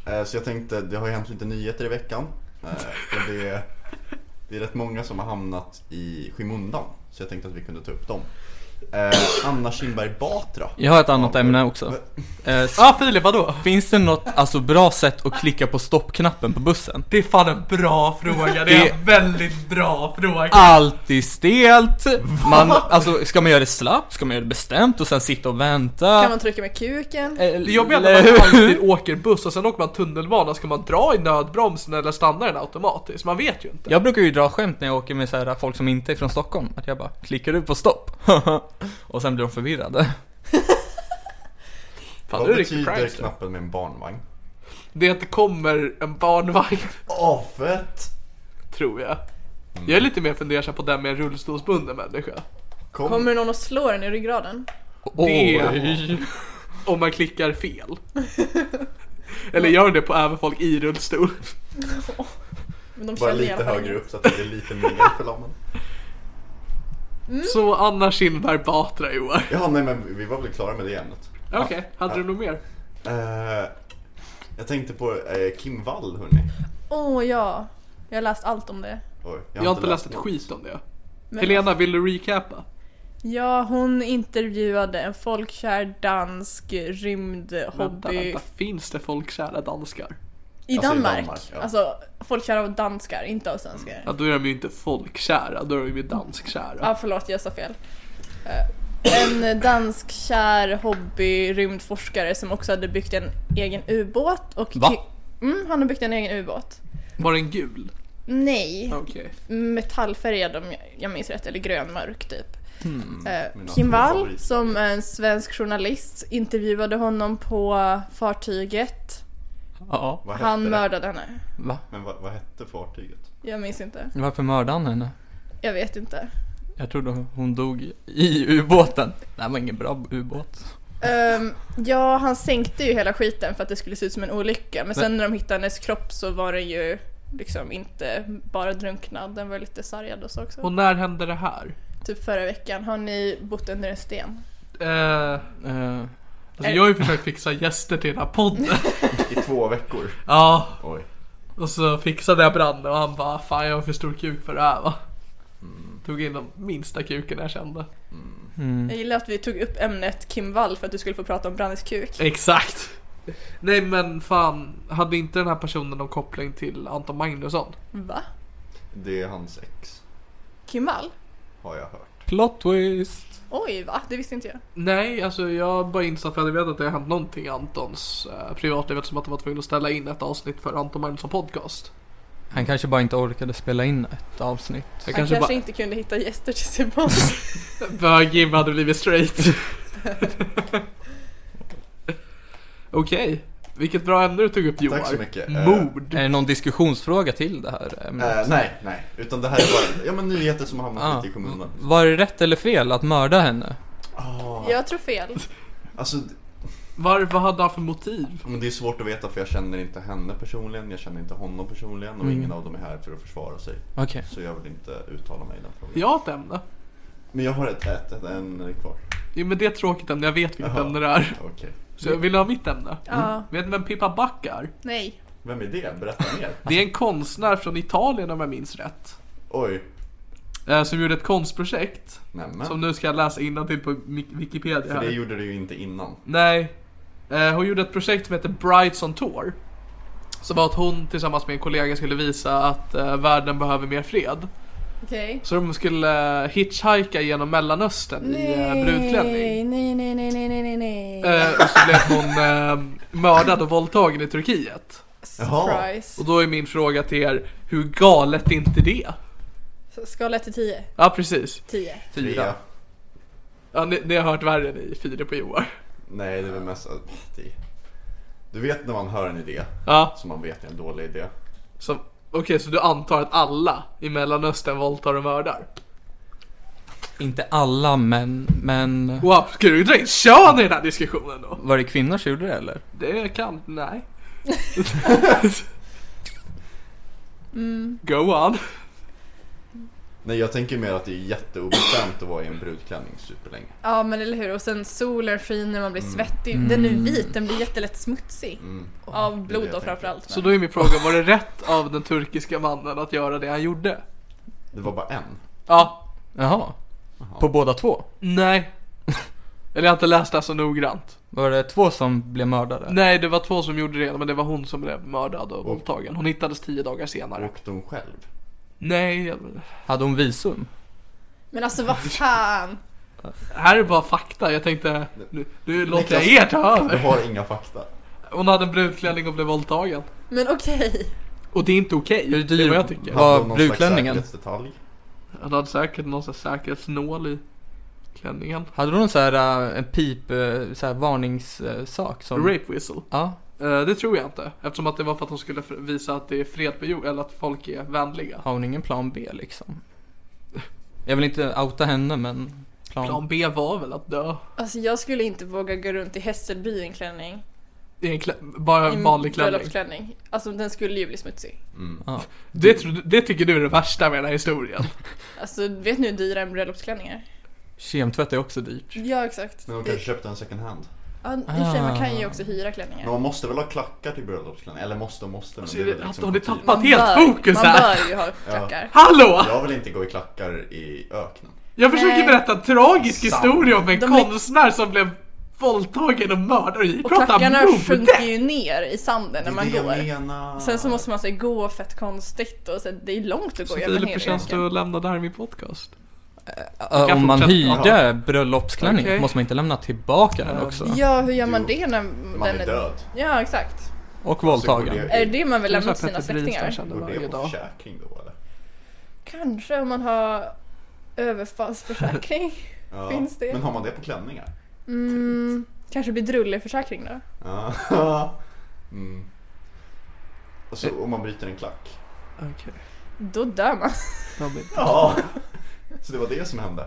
Ja. Eh, Så jag tänkte, det har ju hänt lite nyheter i veckan. Eh, Och det, är- det är rätt många som har hamnat i skymundan. Så jag tänkte att vi kunde ta upp dem. Eh, Anna Kinberg Batra.
Jag har ett annat ämne också. Eh, s-
Ja ah, Filip, vadå?
Finns det något alltså, bra sätt att klicka på stoppknappen på bussen?
Det är fan en bra fråga. Det är en väldigt bra fråga.
Alltid stelt! Man, alltså, ska man göra det slappt? Ska man göra det bestämt och sen sitta och vänta?
Kan man trycka med kuken?
Det jobbiga är att man alltid åker buss och sen åker man tunnelbana. Ska man dra i nödbromsen eller stannar den automatiskt? Man vet ju inte.
Jag brukar ju dra skämt när jag åker med så här, folk som inte är från Stockholm, att jag bara klickar du på stopp? och sen blir de förvirrade.
Fan,
Vad
du är riktigt
betyder
prankster.
knappen med en barnvagn?
Det är att det kommer en barnvagn,
Åh, fett!
tror jag. Jag
Mm.
är lite mer fundersam på den med en rullstolsbunden människa.
Kom.
Kommer någon att slå den i ryggraden?
Det- Om man klickar fel. Eller gör det på även folk i rullstol.
Men de
Bara
känner i alla
lite
fall
högre
inget.
upp så att det blir lite mindre förlamande.
Så Anna Kinberg Batra i år.
Ja, nej men vi var väl klara med det ämnet.
Okej, hade du något mer?
Eh, jag tänkte på eh, Kim Wall, hörni.
Åh ja, jag har läst allt om det.
Oj,
Jag har inte läst ett
något.
skit om det.
Men-
Helena, vill du recapa?
Ja, hon intervjuade en folkkär dansk rymdhobby
Vänta, vänta. Finns det folkkära danskar?
i
Alltså i
Danmark.
Danmark, ja. Mm.
Alltså folkkär av danskar, inte av svenskar.
Ja, då är de ju inte folkkära, då är de ju danskkära.
Ja, förlåt, jag sa fel. Eh, En dansk kär hobby-rymdforskare som också hade byggt en egen ubåt och...
Va?
Mm, han har byggt en egen ubåt.
Var den gul?
Nej,
Okej.
metallfärgad om jag- jag minns rätt, eller grönmörk typ. Eh,
Hmm, Mina
Kim
två
Wall,
favoriter.
som är en svensk journalist, intervjuade honom på fartyget.
Ja,
Vad hette
Han
det?
mördade henne.
va?
Men vad, vad hette fartyget?
Jag minns inte.
Varför mördade han henne?
Jag vet inte.
Jag trodde hon dog i ubåten. Det här var ingen bra ubåt.
Ehm, ja, han sänkte ju hela skiten för att det skulle se ut som en olycka. Men sen när de hittade hennes kropp så var den ju liksom inte bara drunknad. Den var lite sargad och så också.
Och när hände det här?
Typ förra veckan. Har ni bott under en sten?
Eh,
Eh,
alltså jag har ju försökt fixa gäster till den här podden.
I två veckor.
ja,
Oj.
och så fixade jag Branne och han bara Fan jag har för stor kuk för det här va.
Mm.
Tog in den minsta kuken jag kände.
hmm.
Eh.
Jag gillar att vi tog upp ämnet Kim Wall för att du skulle få prata om Brannes kuk.
Exakt. Nej men fan, hade inte den här personen någon koppling till Anton Magnusson?
Va?
Det är hans ex,
Kim Wall?
har jag hört.
plot twist.
Oj, va? Det visste inte jag.
Nej, alltså jag bara insåg att jag hade vetat att det hade hänt någonting i Antons eh, privatliv eftersom att de var tvungna att ställa in ett avsnitt för Anton Magnusson podcast.
Han kanske bara inte orkade spela in ett avsnitt.
Jag
Han kanske,
kanske bara,
inte kunde hitta gäster till sin podd.
bara Jim hade blivit straight. Okej, vilket bra ämne du tog upp Joar.
Tack så mycket.
Mord.
Är det någon diskussionsfråga till det här ämnet?
Eh, eh, nej, nej. Utan det här är bara ja, men nyheter som har hamnat
Ah.
lite i kommunen.
Mm.
Var det rätt eller fel att mörda henne?
Ah,
Jag tror fel.
Alltså, d-
Var, vad hade han för motiv?
men det är svårt att veta för jag känner inte henne personligen, jag känner inte honom personligen och
Mm.
ingen av dem är här för att försvara sig.
Okej.
Så jag vill inte uttala mig i den frågan.
Jag har ett ämne.
Men jag har ett, ett, ett en kvar.
Jo men det är ett tråkigt ämne, jag vet vilket
Jaha.
ämne det är.
Okej.
Så jag vill ha mitt ämne?
Ja,
Vet ni vem Pippa Back är?
nej.
Vem är det? Berätta mer.
Det är en konstnär från Italien om jag minns rätt.
Oj.
Eh, Som gjorde ett konstprojekt.
Nämen.
Som nu ska jag läsa innantill på Mi- Wikipedia
För det
här.
gjorde du ju inte innan.
Nej. Eh, Hon gjorde ett projekt som heter Brides on Tour. Som var att hon tillsammans med en kollega skulle visa att eh, världen behöver mer fred.
Okej.
Så de skulle eh, hitchhika genom Mellanöstern i eh, brudklänning.
nej, nej, nej, nej, nej, nej, nej.
Eh, och så blev hon eh, mördad och våldtagen i Turkiet.
Surprise.
Och då är min fråga till er, hur galet är inte det?
Så Skala 1 till 10.
Ja precis,
10.
fyra. Ja, ni, ni har hört värre ni, fyra på Joar.
Nej, det är väl mest att... det- Du vet när man hör en idé
Ja,
som man vet är en dålig idé.
så okej så du antar att alla i Mellanöstern våldtar och mördar?
Inte alla men, men...
Wow, ska du dra in kön i den här diskussionen då?
Var det kvinnor som gjorde det eller?
Det kan, nej. Go on.
Nej, jag tänker mer att det är jätteobestämt att vara i en brudklänning superlänge.
Ja men eller hur, och sen solen skiner, man blir svettig. Den är vit, den blir jättelätt smutsig. Av
det är det
blod
jag
då
tänker.
framförallt.
Så då är min fråga, var det rätt av den turkiska mannen att göra det han gjorde?
Det var bara en.
Ja,
Jaha. På båda två?
Nej. Eller jag har inte läst det här så noggrant.
Var det två som blev mördade?
Nej, det var två som gjorde det, men det var hon som blev mördad och våldtagen. Hon hittades tio dagar senare.
Och de själv.
Nej, jag-
Hade hon visum?
Men alltså vad fan!
här är bara fakta. Jag tänkte, nu, nu låter jag
Niklas.
er ta
Du
över.
har inga fakta.
Hon hade en brudklänning och blev våldtagen.
Men okej.
Och det är inte okej,
Hur
det är
dyr-
vad jag tycker.
Vad-
Hade de någon slags
brudklänningen?
säkerhetsdetalj?
Hon hade säkert någon sån här säkerhetsnål i klänningen.
Hade hon så här äh, en pip, äh, så här varningssak som...
Rape whistle.
Ja.
Eh, det tror jag inte. Eftersom att det var för att hon skulle f- visa att det är fred på jord, eller att folk är vänliga.
Har hon ingen plan B liksom? Jag vill inte outa henne men... Plan...
Plan B var väl att dö.
Alltså jag skulle inte våga gå runt i Hässelby i en klänning.
I en klä- bara
I
en vanlig klänning.
bröllopsklänning. Alltså den skulle ju bli smutsig.
Ja.
Det, tro- det tycker du är det värsta med den här historien.
Alltså vet ni hur dyra en bröllopsklänning är?
Kemtvätt är också dyrt.
Ja exakt.
Men de
Det-
kanske köpte en second hand.
Ja, i och för sig, man kan ju också hyra klänningar.
Men man måste väl ha klackar till bröllopsklänning? Eller måste och måste. Men
Så
det är
det-
väl liksom
har ni
kutym.
tappat helt fokus
man
här?
bör ju ha klackar.
Hallå!
Jag vill inte gå i klackar i öknen.
Jag försöker
Nej.
berätta en tragisk
Sant.
historia om en
De är-
konstnär som blev våldtagen och mördad. Vi
Och klackarna
pratar
sjunker
mode!
ju ner i sanden när man
det är det jag
går.
menar.
Sen så måste man så här, gå fett konstigt och så här, det är långt att
Så
gå över
Filip, hur
hela
känns det
öken.
att lämna det här i min podcast?
Äh, om man
fortsätta.
hyrde bröllopsklänning
Okej.
måste man inte lämna tillbaka den också?
Ja, hur gör man
Jo,
det när
Man är död.
Ja, exakt.
Och
Så går
våldtagen.
Är det det man vill lämna till
Så här
sina
Petter Bristav
släktingar?
kände
Går det
varje
på
dag.
försäkring då eller?
Kanske om man har överfallsförsäkring.
Ja.
Finns det?
Men har man det på klänningar?
Mm, kanske bedrulleförsäkring då?
Ja. mm. Och
Eh.
så om man bryter en klack.
Okej,
Då dör man.
ja, men-
Ja. Så det var det som hände.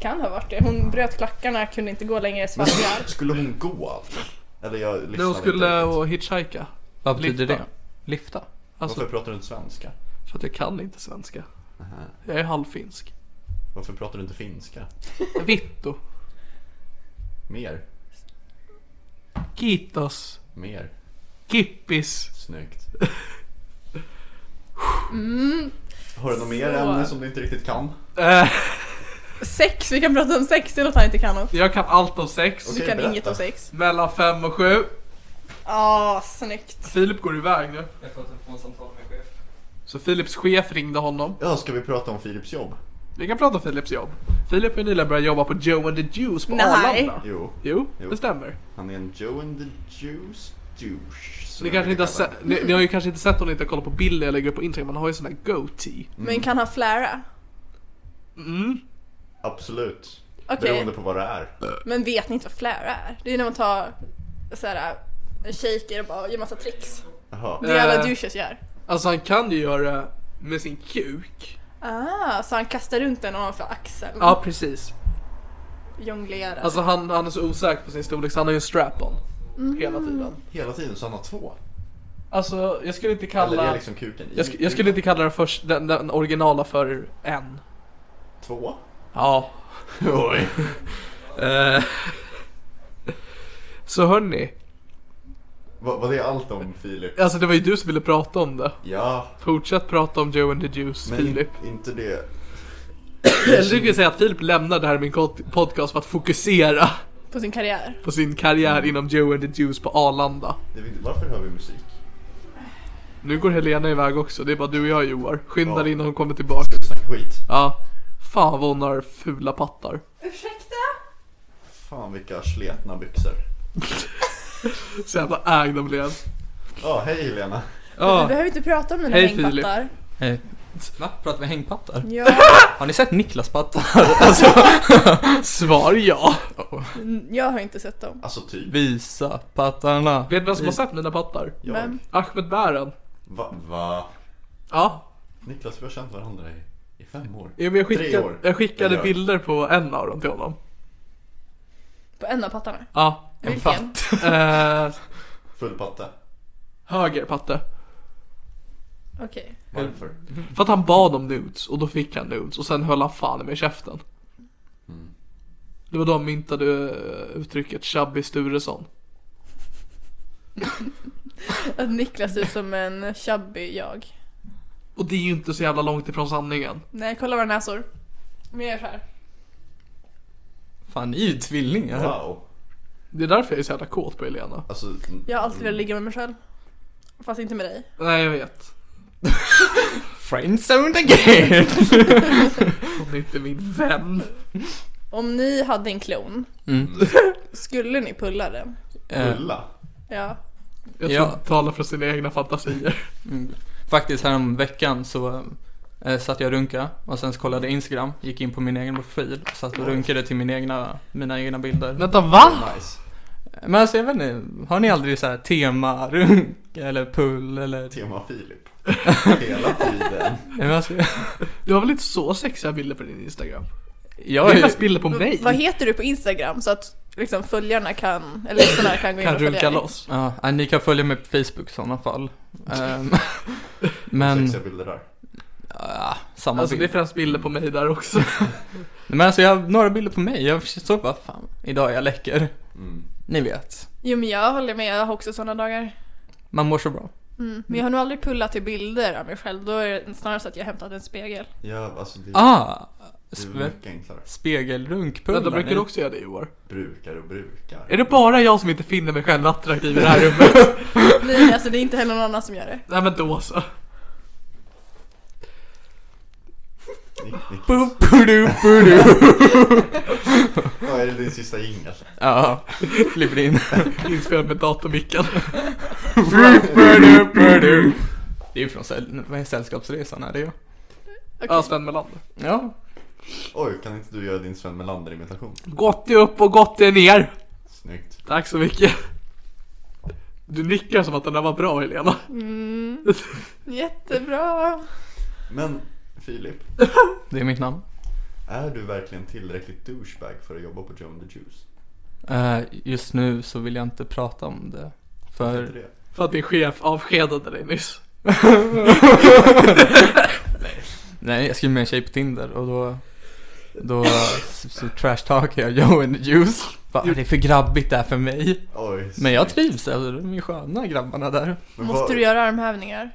Kan ha varit det. Hon bröt klackarna, kunde inte gå längre, svalkar.
Skulle hon gå alltså? Eller jag lyssnade
När hon skulle
inte riktigt.
och hitchhika.
Vad betyder
Lifta.
det? Lifta?
Alltså,
Varför pratar du inte svenska?
för att jag kan inte svenska. Jag är halvfinsk.
Varför pratar du inte finska?
Vitto.
Mer,
Kitos.
mer,
Kippis.
snyggt. Har du något mer
Mm. Så.
ämne som du inte riktigt kan?
Eh,
Sex, vi kan prata om sex, det är något han inte kan om.
jag kan allt om sex.
Du
Okej,
kan
berätta.
inget om sex.
Mellan fem och sju.
Ah, snyggt.
Filip går iväg nu.
Jag får telefonsamtal med chef.
Så Filips chef ringde honom.
Ja, ska vi prata om Filips jobb?
Vi kan prata om Philips jobb. Philip har nyligen börjat jobba på Joe and the Juice på
Nej.
Arlanda.
Jo,
Jo,
Jo.
det stämmer.
han är en Joe and the Juice douche. som
Ni,
jag
kanske
brukar
inte har
kalla
sett, ni, ni har ju kanske inte sett om ni inte har kollat på bilder jag lägger upp på Instagram. Han har ju sån här goatee.
Mm.
Men kan han flära?
honom. Absolut.
Okej.
Beroende på vad det är.
Men vet ni inte vad flära är? Det är när man tar såhär en shaker och bara gör massa tricks.
Jaha.
Det är alla
Eh.
douches gör.
Alltså han kan ju göra det med sin kuk.
Ah, så han kastar runt den ovanför axeln.
Ja, precis.
Jonglerar.
Alltså han, han är så osäker på sin storlek så han har ju en strap-on. Hela tiden.
Hela tiden så han har två.
Alltså jag skulle inte
Eller det
kalla...
är liksom kuken i
Jag, sk- jag skulle inte kalla den, först, den, den originala för en.
Två?
Ja.
Oj.
Eh. så hörni.
Vad vad det är allt om Filip?
Alltså det var ju du som ville prata om det.
Ja,
Fortsätt prata om Joe and the Juice,
men
Filip.
in- inte det.
Eller du kan ju säga att Filip lämnar det här min kod- podcast för att fokusera
På sin karriär.
på sin
Mm.
karriär inom Joe and the Juice på Arlanda.
det är viktigt. Varför hör vi musik?
Nu går Helena iväg också, det är bara du och jag Joar. Skynda
Ja.
dig innan hon kommer tillbaka.
Snacka skit.
Ja. Fan vad hon har fula pattar.
Ursäkta?
Fan vilka sletna byxor.
Så jävla ägd de blev.
Ja, hej Helena.
Vi
Ja.
behöver inte prata om mina
Hej,
hängpattar.
Hej. Va? Pratar vi hängpattar?
Ja,
Har ni sett Niklas pattar? Alltså,
Svar ja.
n- jag har inte sett dem.
Alltså typ.
Visa pattarna.
Vet du vem som har sett mina pattar?
Jag.
Vem?
Ahmed Bären.
Va? Va?
Ja.
Niklas, vi har känt varandra i, i fem år.
Jo, men jag
Tre
skickade,
år.
jag skickade
Tre år.
bilder på en av dem till honom.
På en av pattarna.
Ja.
Vilken?
Eh,
Full patte.
höger patte.
Okej.
Varför?
För att han bad om nudes och då fick han nudes och sen höll han fan med käften. Det var då han myntade eh, uttrycket Chubby Sturesson.
Att Niklas ser ut som en chubby jag.
Och det är ju inte så jävla långt ifrån sanningen.
Nej, kolla våra näsor. Vi gör så här.
Fan, ni är ju tvillingar.
Wow.
Det är därför jag är så jävla kåt på Helena.
Alltså,
Jag har alltid velat ligga med mig själv. Fast inte med dig.
Nej jag vet.
Friendzoned again!
Hon är inte min vän.
Om ni hade en klon,
Mm.
skulle ni pulla den?
Eh,
Ulla.
Ja.
Jag tror
Ja.
hon talar för sina egna fantasier.
faktiskt härom veckan så eh, satt jag och runka och sen så kollade jag Instagram, gick in på min egen profil, satt och runkade till min egna, mina egna bilder.
Vänta va?
Nice.
Men alltså jag vet inte, har ni aldrig så här tema runk eller pull eller?
Tema Filip. Hela tiden.
Men alltså,
Du har väl inte så sexiga bilder på din Instagram? Det
jag
är
är
mest bilder på mig.
Vad heter du på Instagram så att liksom följarna kan, eller lyssnarna kan gå in
Kan
och följa
runka
dig?
loss.
Ja, eh, ni kan följa mig på Facebook i sådana fall. Ehm, men,
Sexiga bilder där.
ja, samma
Alltså det är
bild.
främst bilder på mig där också.
Men alltså jag har några bilder på mig, jag såg bara fan, idag är jag läcker.
Mm.
Ni vet,
Jo men jag håller med, jag har också sådana dagar.
man mår så bra.
Mm. Men jag har nog aldrig pullat till bilder av mig själv, då är det snarare så att jag hämtat en spegel.
Ja, alltså det,
Ah!
det är
Mm.
Spe-
mycket enklare.
spegelrunkpullar.
Vänta brukar du också göra det Joar?
Brukar och brukar.
Är det bara jag som inte finner mig själv attraktiv i det här rummet?
Nej alltså det är inte heller någon annan som gör det.
Nej men då alltså. så.
Nick, Nick.
Boop, boodoo, boodoo.
Ja, är det din sista jingel?
Ja, klipper in.
Inspelad med datormicken.
Boop, boodoo, boodoo. Det är ju från säll- vad är Sällskapsresan, är det ju.
Ja, Sven Melander.
Ja.
Oj, kan inte du göra din Sven Melander-imitation?
Gott är upp och gott är ner.
Snyggt.
Tack så mycket. Du nickar som att den där var bra Helena.
Jättebra!
Men Filip,
Det är mitt namn.
är du verkligen tillräckligt douchebag för att jobba på Joe and the Juice?
Eh, just nu så vill jag inte prata om det.
Är
För...
det det?
För att din chef avskedade dig nyss.
Nej, jag skrev med en tjej på Tinder och då... Då så, så trashtalkade jag Joe and the Juice. Bara, det är för grabbigt där för mig.
Oj,
Men jag
snyggt.
trivs, alltså, de är sköna grabbarna där.
Men
Måste
vad-
du göra armhävningar?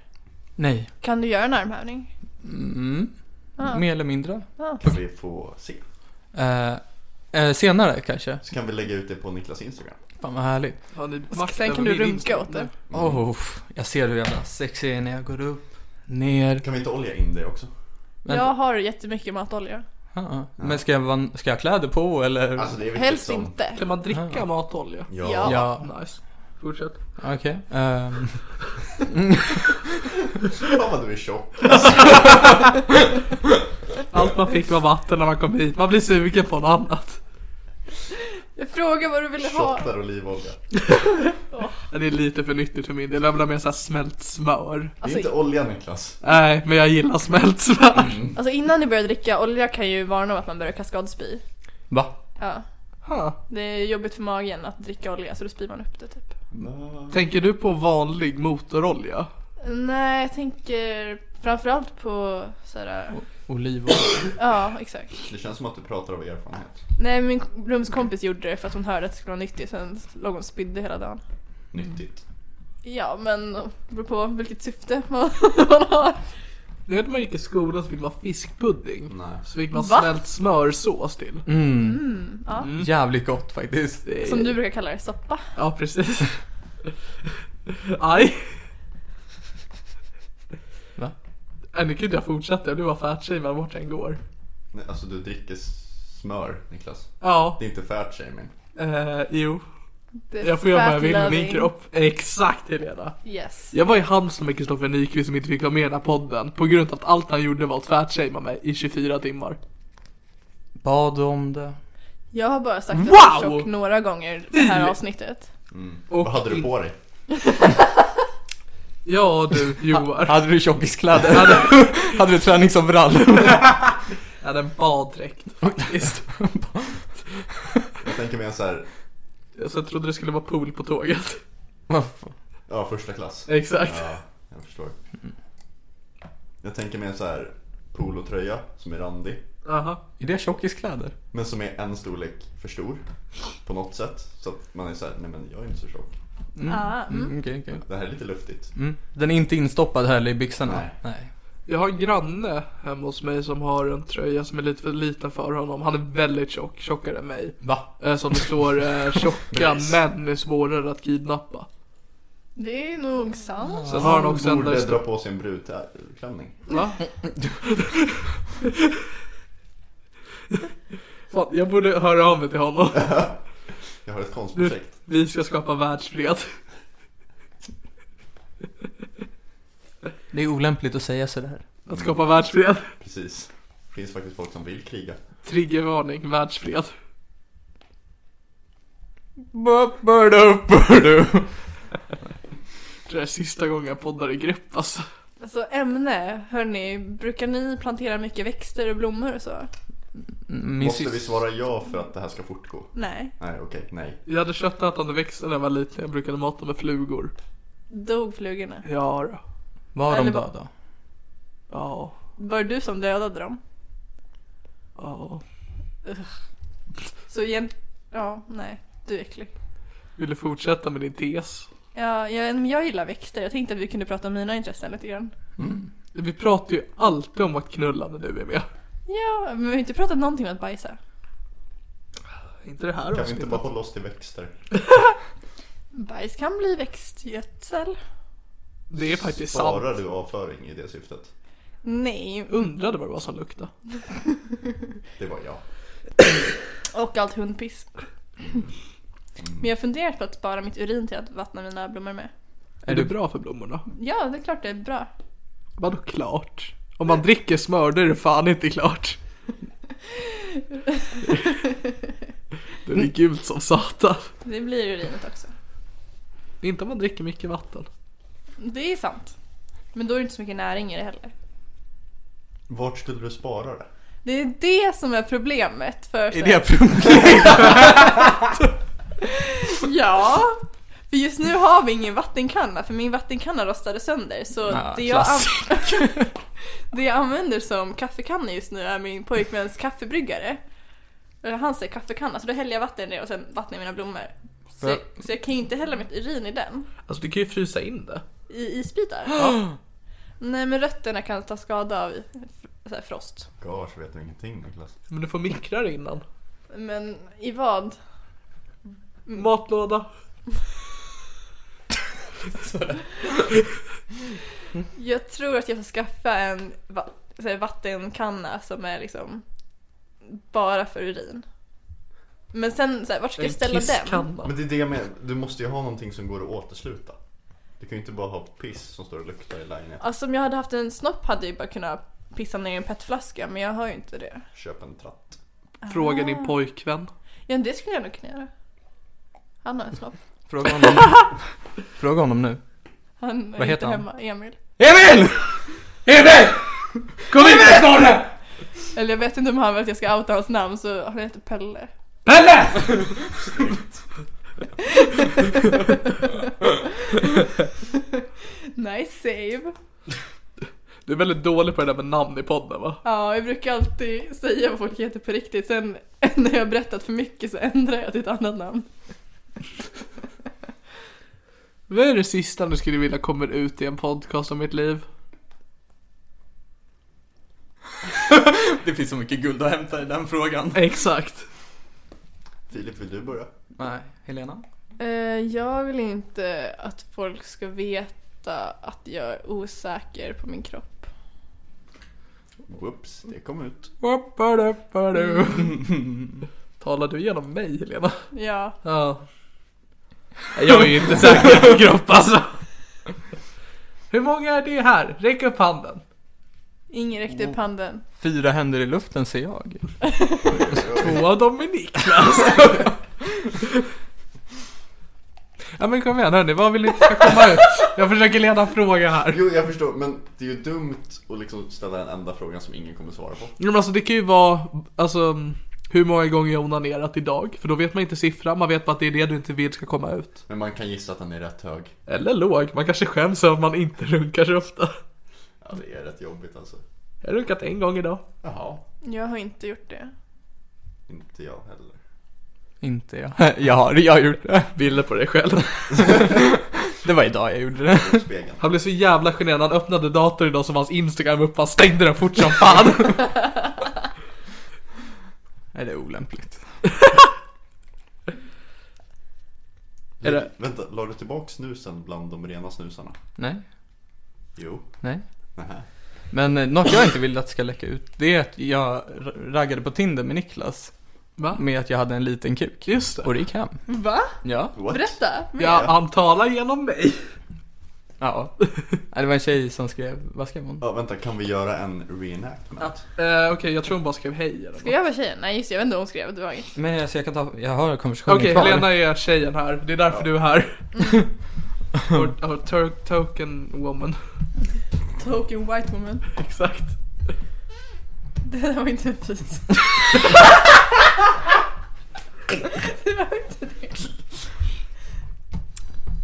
Nej.
Kan du göra en armhävning?
Mm.
Ah.
Mer eller mindre.
Ja.
Kan vi få se?
Eh, eh, senare kanske.
Så kan vi lägga ut det på Niklas Instagram.
Fan vad härligt.
Har ni
Och
makt
Sen
över
kan du
min
runka
Instagram?
åt det.
Mm. Oh, jag ser hur jävla sexig jag är när jag går upp, ner.
Kan vi inte olja in det också?
Men,
Jag har jättemycket matolja.
Ja. Men ska jag, van- ska jag ha kläder på eller?
Alltså det är viktigt
Helst
som...
inte.
Kan man dricka matolja?
Ja.
Ja.
Ja,
Nice. Fortsätt.
okej. Ehm,
Fan vad du är tjock.
Allt man fick var vatten när man kom hit. Man blir sugen på något annat.
Jag frågar vad du ville ha.
Tjock där olivolja.
Ja, Det är lite för nyttigt för min del. Jag vill ha mer så här smält smör.
Det
Alltså,
är inte olja Niklas.
Nej, men jag gillar smält smör.
Alltså innan ni börjar dricka, olja kan ju varna om att man börjar kaskadspy.
va?
Ja.
Ha.
Det är jobbigt för magen att dricka olja så då spyr man upp det typ.
Tänker du på vanlig motorolja?
Nej, jag tänker framförallt på såhär,
Olivolja?
ja exakt.
Det känns som att du pratar av erfarenhet.
Nej, min rumskompis gjorde det för att hon hörde att det skulle vara nyttigt, sen låg hon och spydde hela dagen.
Nyttigt.
Ja, men det beror på vilket syfte man, man har.
Det när man gick i skolan så fick man
Mm.
fiskpudding.
Nej.
Så fick man
Va?
smält smörsås till.
Mm.
Mm,
Jävligt gott faktiskt.
Det är-
Som du brukar kalla det, soppa.
Ja, precis. Aj.
Va?
Nej, Äh, nu kan inte jag fortsätta. Jag blir bara fatshamead vart jag än går.
Nej, Alltså du dricker smör Niklas.
Ja,
Det är inte fatshaming.
eh, jo.
Det är
Jag får göra vad jag
fat
vill med min
loving.
kropp. Exakt Helena.
Yes.
Jag var i Halmstad med Kristoffer Nyqvist som inte fick vara med i den här podden på grund av att allt han gjorde var att fatshamea mig i 24 timmar.
Bad om det.
Jag har bara sagt att jag är
Wow!
tjock några gånger det här avsnittet.
Och
Vad hade du på dig?
Ja du Joar.
Hade du tjockiskläder? Hade du träningsoverall?
Jag hade en baddräkt faktiskt.
Jag tänker mig en så här,
Så jag trodde det skulle vara pool på tåget.
Vad fan?
ja första klass.
Exakt.
Ja, jag förstår. Jag tänker mig en så här polotröja som är randig.
Aha.
Är det tjockiskläder?
Men som är en storlek för stor. På något sätt. Så att man är så här, nej men jag är inte så tjock.
Ah, mm.
Mm, okej, okej.
Det här är lite luftigt.
Mm. Den är inte instoppad heller i byxorna?
Nej.
Jag har en granne hemma hos mig som har en tröja som är lite för liten för honom. Han är väldigt tjock, tjockare än mig.
Va?
Eh, Som det står eh, tjocka män är svårare att kidnappa.
Det är nog sant.
Sen har han också en där det
Borde
står...
dra på sig en brudklänning.
Va? Fan, jag borde höra av mig till honom.
Jag har ett
Du,
konstprojekt.
vi ska skapa världsfred.
Det är olämpligt att säga sådär.
Att skapa världsfred.
Precis. Det finns faktiskt folk som vill kriga.
Triggervarning, världsfred. Det är sista gången jag poddar i grepp alltså.
Alltså ämne, hörni, brukar ni plantera mycket växter och blommor och så?
Mm, Min
Måste
sys-
vi svara ja för att det här ska fortgå?
Nej.
Nej, okej, nej.
Jag hade köttätande växter när jag var liten. Jag brukade mata med flugor.
Dog flugorna?
Ja, då.
Var de
Eller vad-
döda?
ja,
Var det du som dödade dem?
ja.
Så igen... Ja, nej. Du är äcklig.
Vill du fortsätta med din tes?
Ja, jag, men jag gillar växter. Jag tänkte att vi kunde prata om mina intressen lite grann.
Vi pratar ju alltid om att knulla när du är med.
Ja, men vi har inte pratat någonting om att bajsa.
Inte det här
Kan vi
avsnittet.
inte bara hålla oss till växter?
Bajs kan bli växtgödsel.
Det är faktiskt sant.
Sparar du avföring i det syftet?
Nej.
Undrade vad det var som luktade.
Det var jag.
Och allt hundpiss. Men jag har funderat på att spara mitt urin till att vattna mina blommor med.
Är det bra för blommorna?
Ja, det är klart det är bra.
Vadå klart? Om man dricker smör då är det fan inte klart. det
Mm.
är gult som satan.
Det blir urinet också.
Inte om man dricker mycket vatten.
Det är sant. Men då är det inte så mycket näring i det heller.
Vart skulle du spara det?
Det är det som är problemet för så
Är
här-
det problem?
Ja, för just nu har vi ingen vattenkanna för min vattenkanna rostade sönder så
Ah,
det, jag
klass.
an- det jag använder som kaffekanna just nu är min pojkväns kaffebryggare. Eller Han säger kaffekanna så då häller jag vatten i det och sen vattnar jag mina blommor. Så jag, så jag kan ju inte hälla mitt urin i den,
Alltså du kan ju frysa in det.
i isbitar. Nej men rötterna kan ta skada av fr- så här, frost.
Gage vet du ingenting Niklas.
Men du får mikra det innan.
Men i vad?
Mm.
Matlåda.
Jag tror att jag ska skaffa en va- så här, vattenkanna som är liksom bara för urin. Men sen så här, vart ska jag ställa den?
Men det är det jag menar, du måste ju ha någonting som går att återsluta. Du kan ju inte bara ha piss som står och luktar i lägenheten.
Alltså om jag hade haft en snopp hade jag ju bara kunnat pissa ner i en petflaska men jag har ju inte det.
Köp en tratt.
Ah.
Fråga din pojkvän.
Ja det skulle jag nog kunna göra. Han har en snopp.
Fråga honom. Fråga honom nu.
Han är
Vad heter
inte
han?
hemma, Emil.
Emil! Emil! Kom hit med snorre!
Eller jag vet inte om han vill att jag ska outa hans namn så han heter Pelle.
Pelle!
Nice save.
Du är väldigt dålig på det där med namn i podden va?
Ja, jag brukar alltid säga vad folk heter på riktigt. Sen när jag har berättat för mycket så ändrar jag till ett annat namn.
Vad är det sista du skulle vilja kommer ut i en podcast om mitt liv?
Det finns så mycket guld att hämta i den frågan.
Exakt.
Filip, vill du börja?
Nej, Helena?
Eh, jag vill inte att folk ska veta att jag är osäker på min kropp.
Whoops, det kom ut.
Talar du genom mig Helena?
Ja,
Ja. Jag är ju inte säker på min kropp alltså. Hur många är det här? Räck upp handen.
ingen räckte upp handen.
Fyra händer i luften ser jag.
Två av dem är Niklas. ja men kom igen hörni, vad vill ni ska komma ut? Jag försöker leda en fråga här.
Jo, jag förstår, men det är ju dumt att liksom ställa den enda frågan som ingen kommer svara på.
Jo, men alltså det kan ju vara, alltså hur många gånger jag onanerat idag? För då vet man inte siffran, man vet bara att det är det du inte vill ska komma ut.
Men man kan gissa att den är rätt hög.
Eller låg, man kanske skäms över att man inte runkar så ofta.
Ja, det är rätt jobbigt alltså.
Jag har runkat en gång idag.
Jaha.
Jag har inte gjort det.
Inte jag heller.
Inte jag. Jag har, jag har gjort det.
Bilder på dig själv.
Det var idag jag gjorde det.
Spegeln.
Han blev så jävla generad, han öppnade datorn idag som hans Instagram upp, han stängde den fort som fan.
Nej, det är olämpligt.
Är det-
Vänta, la du tillbaka snusen bland de rena snusarna?
Nej,
Jo.
nej.
Nähä.
Men eh, något jag inte vill att ska läcka ut, det är att jag r- raggade på Tinder med Niklas.
Va?
Med att jag hade en liten kuk.
Just det.
Och det gick hem.
Va?
Ja.
What?
Berätta!
Ja, han talar genom mig.
Ja. Nej, det var en tjej som skrev, vad skrev hon?
Ja, vänta, kan vi göra en reenactment?
Eh, Okej, jag tror hon bara skrev hej eller
Ska jag vara tjejen? Nej just det, jag vet inte vad hon skrev. Det var inget.
Men alltså jag kan ta, jag har konversationen
Okej,
kvar.
Helena är tjejen här. Det är därför du är här. Vår- Vår tur- token woman.
Token white woman.
Exakt.
Det där var inte fint. det var inte det.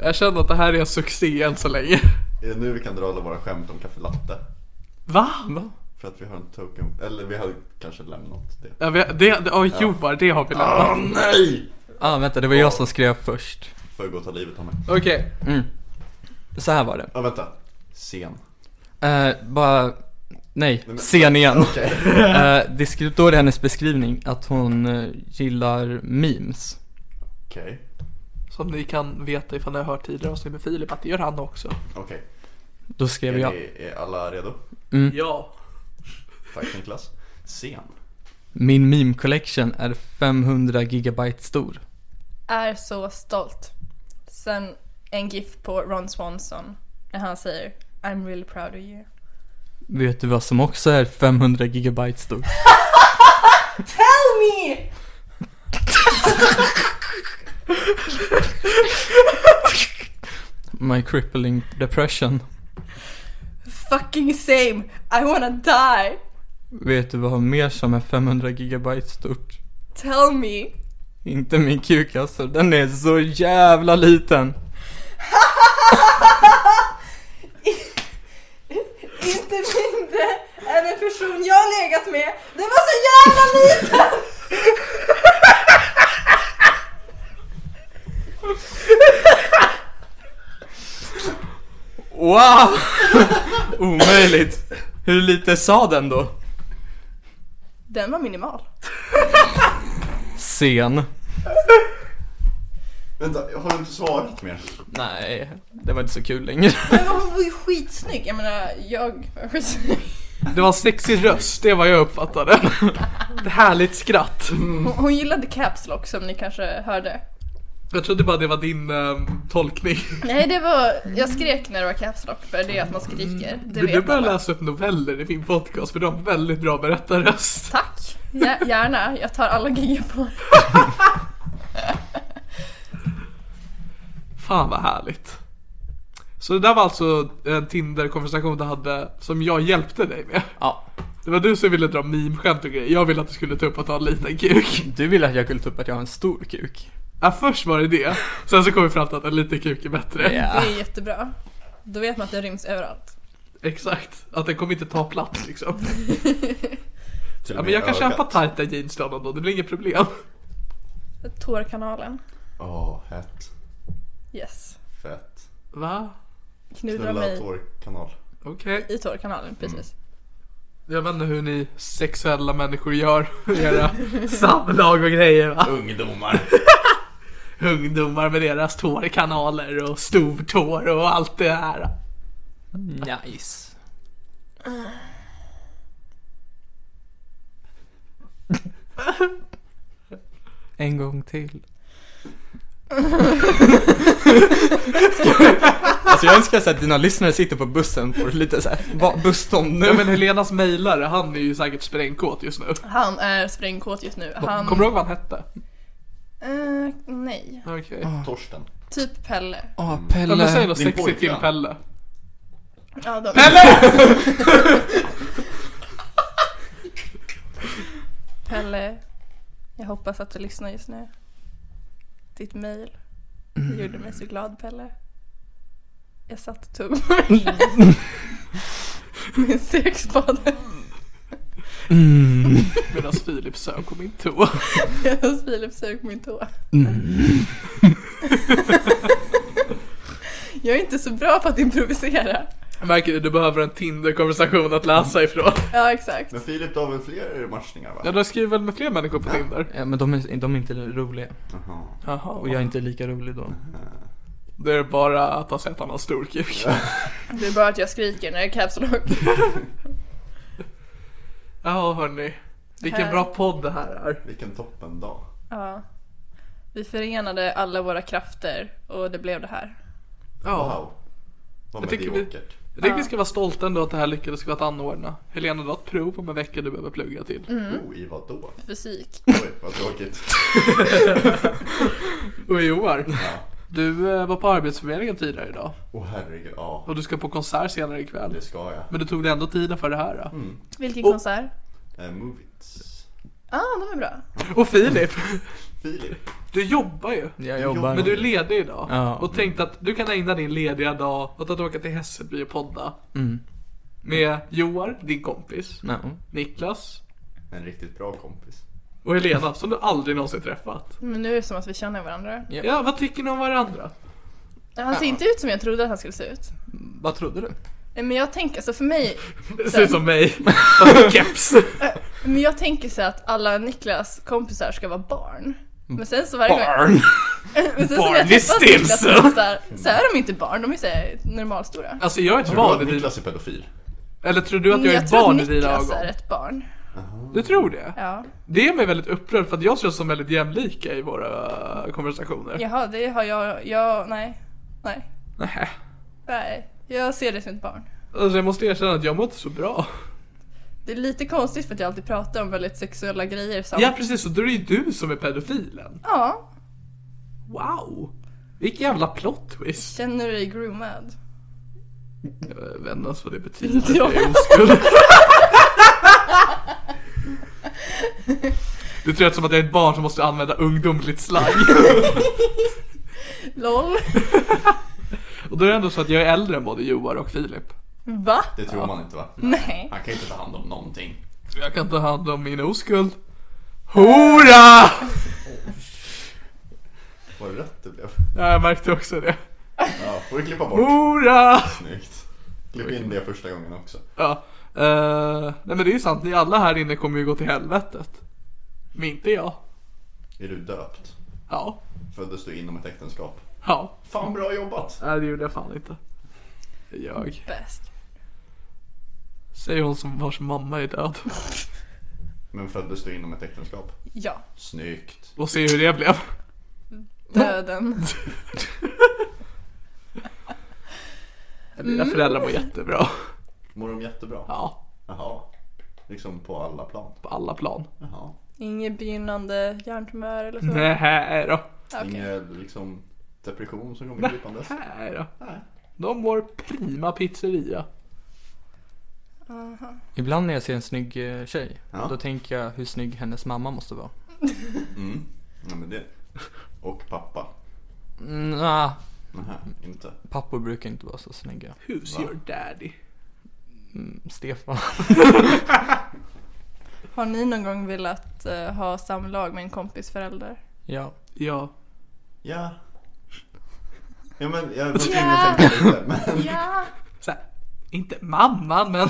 Jag känner att det här är en succé än så länge.
Är det nu vi kan dra alla våra skämt om kaffelatte?
Va?
För att vi har en token, eller vi har kanske lämnat det.
Ja, vi, det, det, oh, jo, bara det har vi lämnat.
nej!
ah, vänta, det var jag som skrev först.
För att gå och ta livet av mig.
Okej,
Så här var det.
Ja, vänta. Sen.
Eh, bara, nej,
men-
sen igen.
Okej.
Eh, det skrev då i hennes beskrivning att hon eh, gillar memes.
Okej.
som ni kan veta ifall ni har hört tidigare avsnitt med Filip att det gör han också.
Okej.
Då skrev
Är,
jag
ni- är alla redo?
Ja.
Tack Niklas. Sen.
Min meme collection är 500 gigabyte stor.
är så stolt. Sen en GIF på Ron Swanson när han säger I'm really proud of you.
Vet du vad som också är 500 gigabyte stor?
Tell me!
My crippling depression.
Fucking same! I wanna die!
Vet du vad mer som är 500 gigabyte stort?
Tell me!
Inte min kuk alltså, den är så jävla liten.
Inte mindre än en person jag har legat med, den var så jävla liten!
Wow! Omöjligt. Hur lite sa den då?
Den var minimal.
Sen.
Vänta, har du inte svarat mer?
Nej, det var inte så kul längre.
Men hon var ju skitsnygg, jag menar jag var skitsnygg.
Det var en sexig röst, det var jag uppfattade. Ett härligt skratt.
Hon, hon gillade caps lock som ni kanske hörde.
Jag trodde bara det var din ehm, tolkning.
Nej, det var... Jag skrek när det var caps lock för det är att man skriker. Det
Vill du
vet
börja
man. va?
läsa upp noveller i min podcast? För du har en väldigt bra berättarröst.
Tack! Ja, gärna, jag tar alla giggen på mig.
Fan vad härligt. Så det där var alltså en Tinder-konversation du hade som jag hjälpte dig med.
Ja.
Det var du som ville dra meme-skämt och grejer. Jag ville att du skulle ta upp att ha en liten kuk.
Du ville att jag skulle ta upp att jag har en stor kuk.
Ja, först var det det. Sen så kom vi fram till att en liten kuk är bättre.
Det är jättebra. Då vet man att den ryms överallt.
Exakt. Att den kommer inte ta plats liksom.
Till och
Ja, men
med
jag kan
ögat.
köpa tajta jeans till honom då. Det blir inget problem.
Tårkanalen.
Åh, hett.
Yes.
Fett.
Va?
Knudra
Knulla
mig
tårkanal.
Okej.
i
Mm.
tårkanalen, precis.
Jag vet inte hur ni sexuella människor gör. Era samlag och grejer va?
Mm. Ungdomar.
Ungdomar med deras tårkanaler och stortår och allt det här.
Nice. En gång till. alltså jag önskar så att dina lyssnare sitter på bussen på lite såhär, busstånd nu.
Nej men Helenas mejlare, han är ju säkert sprängkåt just nu.
Han är sprängkåt just nu. Han...
Kommer du ihåg vad han hette?
Eh, nej.
Okej.
Torsten.
Typ Pelle.
Åh
Ja, men säg
Pelle.
något
din
sexigt till
pojkvän.
Pelle.
Ja, de... Pelle, jag hoppas att du lyssnar just nu. Ditt mejl gjorde mig så glad, Pelle. Jag satt och tog på min- min stekspade
Medan Filip sög på min tå.
medan Filip sög på min tå. Jag är inte så bra på att improvisera.
Jag Märker du, du behöver en Tinder-konversation att läsa ifrån.
Ja, exakt.
Men Filip, du har väl fler matchningar
Ja,
va?
du skriver väl med fler människor på Tinder?
Ja, men de är, de är inte roliga.
Jaha. Eh,
Jaha,
Och jag är inte lika rolig då.
Det är bara att ha sett honom stor kuk.
Det är bara att jag skriker när det är caps lock.
Ja, hörni. Vilken
Här.
bra podd det här är.
Vilken toppen dag.
Ja. Vi förenade alla våra krafter och det blev det här.
Ja.
Wow. Vad
Jag tycker
mediokert.
Jag tycker vi ska vara stolta ändå att det här lyckades vi att anordna. Helena, du har ett prov om en vecka du behöver plugga till.
Oh, i vad då?
Fysik.
Oj, vad tråkigt.
Och Joar,
Ja.
du eh, var på Arbetsförmedlingen tidigare idag.
Åh herregud, ja.
Och du ska på konsert senare ikväll.
Det ska jag.
Men du tog dig ändå tiden för det här. Då.
Mm.
Vilken
Och-
konsert?
Eh, move it.
Ja, ah, de är bra.
Och Filip,
Filip.
du jobbar ju.
Jag jobbar.
Men du är ledig idag.
Ja.
Och tänkte att du kan ägna din lediga dag åt att åka till Hässelby och podda.
Mm.
Med Joar, din kompis,
No.
Niklas
En riktigt bra kompis.
och Helena som du aldrig någonsin träffat.
Men nu är det som att vi känner varandra.
Ja, vad tycker ni om varandra?
Han ser inte ut som jag trodde att han skulle se ut.
Vad trodde du?
Nej, Men jag tänker så för mig,
Det ser ut som mig. Fast med keps.
men jag tänker så att alla Niklas kompisar ska vara barn. Men sen så varje gång,
Barn!
men sen så när
Barn
jag
is
träffat
still,
Niklas
so.
kompisar så är de inte barn, de är så här normalstora.
Alltså jag är ett
Tror du
barn
att
i dina...
Niklas är pedofil?
Eller tror du att jag är
jag
ett
tror
barn i
att
dina
Niklas
ögon?
är ett barn.
Du tror det?
Ja.
Det gör mig väldigt upprörd för att jag känns som väldigt jämlika i våra eh, konversationer.
Jaha, det har jag, jag, nej, nej,
Nähä.
nej. Jag ser det som ett barn.
Alltså jag måste erkänna att jag mår inte så bra.
Det är lite konstigt för att jag alltid pratar om väldigt sexuella grejer samt...
Ja precis, och då är det ju du som är pedofilen.
ja.
Wow! Vilken jävla plot twist.
Känner du dig groomad?
Jag vet inte ens vad det betyder.
Inte jag.
Jag är oskuld. Du tror att som att jag är ett barn som måste använda ungdomligt slang.
LOL.
Och då är det ändå så att jag är äldre än både Joar och Filip.
Va?
Det tror man inte va?
Nej.
Han kan ju inte ta hand om någonting.
Jag kan ta hand om min oskuld. Hora!
Vad rött det blev.
Ja, jag märkte också det.
Ja, får vi klippa bort.
Hora!
Snyggt. Klipp in det första gången också.
Ja. eh, nej men det är ju sant, ni alla här inne kommer ju gå till helvetet. Men inte jag.
Är du döpt?
Ja.
Föddes du inom ett äktenskap?
Ja.
Fan bra jobbat!
Nej det gjorde jag fan inte. Jag.
Bäst.
Säger hon som vars mamma är död.
Men föddes du inom ett äktenskap?
Ja,
Snyggt.
Och se hur det blev.
döden.
Dina föräldrar mår jättebra.
Mår de jättebra?
Ja,
Jaha. Liksom på alla plan?
på alla plan.
Jaha.
Inget begynnande hjärntumör eller så?
Nej då.
Okej.
Ingen liksom depression som kommer krypandes?
Nej då. De mår prima pizzeria.
Ibland när jag ser en snygg eh, tjej,
Ja.
då tänker jag hur snygg hennes mamma måste vara.
Ja, men det. Och pappa?
Mm, ah,
Nähä, inte.
pappor brukar inte vara så snygga.
Who's your daddy?
Stefan.
Har ni någon gång velat eh, ha samlag med en kompis förälder?
ja.
Ja.
Ja. Ja men jag var tvungen att tänka lite. Men,
Ja!
Så här, inte mamman men.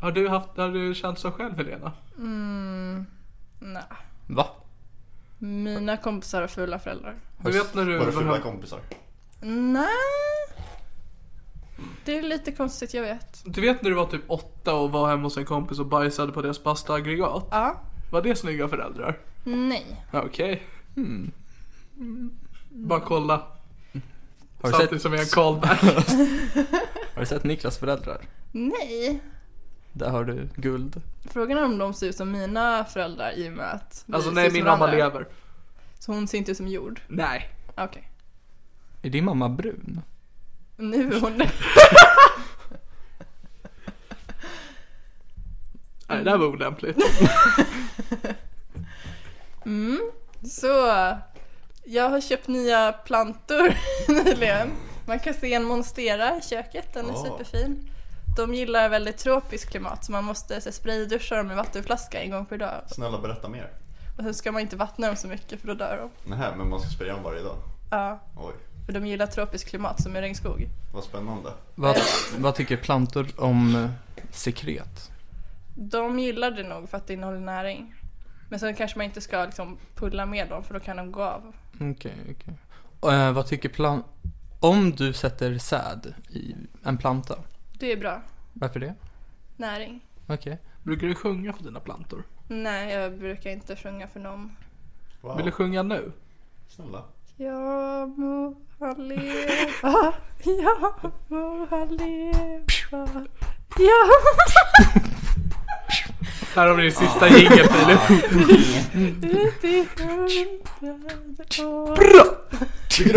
har, du haft, har du känt så själv Helena?
Nej.
Va?
Mina kompisar har fula föräldrar.
Du vet när du
var det fula
behöver,
kompisar?
Nej. Det är lite konstigt, jag vet.
du vet när du var typ åtta och var hemma hos en kompis och bajsade på deras bastaaggregat?
Ja.
Var det snygga föräldrar?
Nej.
Okej. Bara kolla.
Har du,
Samtidigt
sett,
som jag är en callback.
har du sett Niklas föräldrar?
Nej.
Där har du guld.
Frågan är om de ser ut som mina föräldrar i och med att vi
Alltså
ser
nej
ut
min
som
mamma
varandra.
lever.
Så hon ser inte ut som jord?
Nej.
Okej.
Är din mamma brun?
Nu är hon
Nej det där var olämpligt.
Mm. Så, jag har köpt nya plantor nyligen. Man kan se en monstera i köket, den är
Ah.
superfin. De gillar väldigt tropiskt klimat så man måste så, här, sprayduscha dem med vattenflaska en gång per dag.
Snälla berätta mer.
Och sen ska man inte vattna dem så mycket för då dör de.
Nähä, men man ska spraya dem varje dag?
Ja,
Oj,
för de gillar tropiskt klimat som är regnskog.
vad spännande.
Vad, vad tycker plantor om eh, sekret?
De gillar det nog för att det innehåller näring. Men sen kanske man inte ska liksom pulla med dem för då kan de gå av.
Okej, okej. Och, eh, vad tycker plan... Om du sätter säd i en planta,
Det är bra.
varför det?
Näring.
Okej.
Brukar du sjunga för dina plantor?
Nej, jag brukar inte sjunga för någon.
Wow,
Vill du sjunga nu?
snälla.
Jag må han leva, jag må han leva, jag...
Det här har vi din sista jingel Filip.
Ut i hundrade år.
Tycker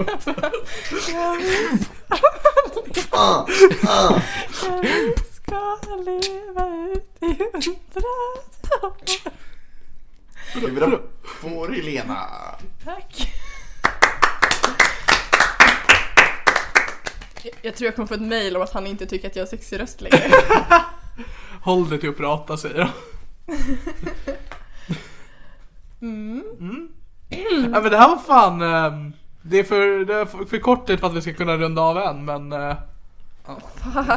upp!
Jag vill
Ah!
ska leva, jag vill ska leva ut i hundrade år.
Tycker upp! Får Helena!
Tack. Jag- Jag tror jag kommer få ett mail om att han inte tycker att jag har sexig röst längre.
Håll dig till att prata säger jag. Mm. Ja, men det här var fan... ehm, Det är, för, det är för för kort tid för att vi ska kunna runda av än men... eh,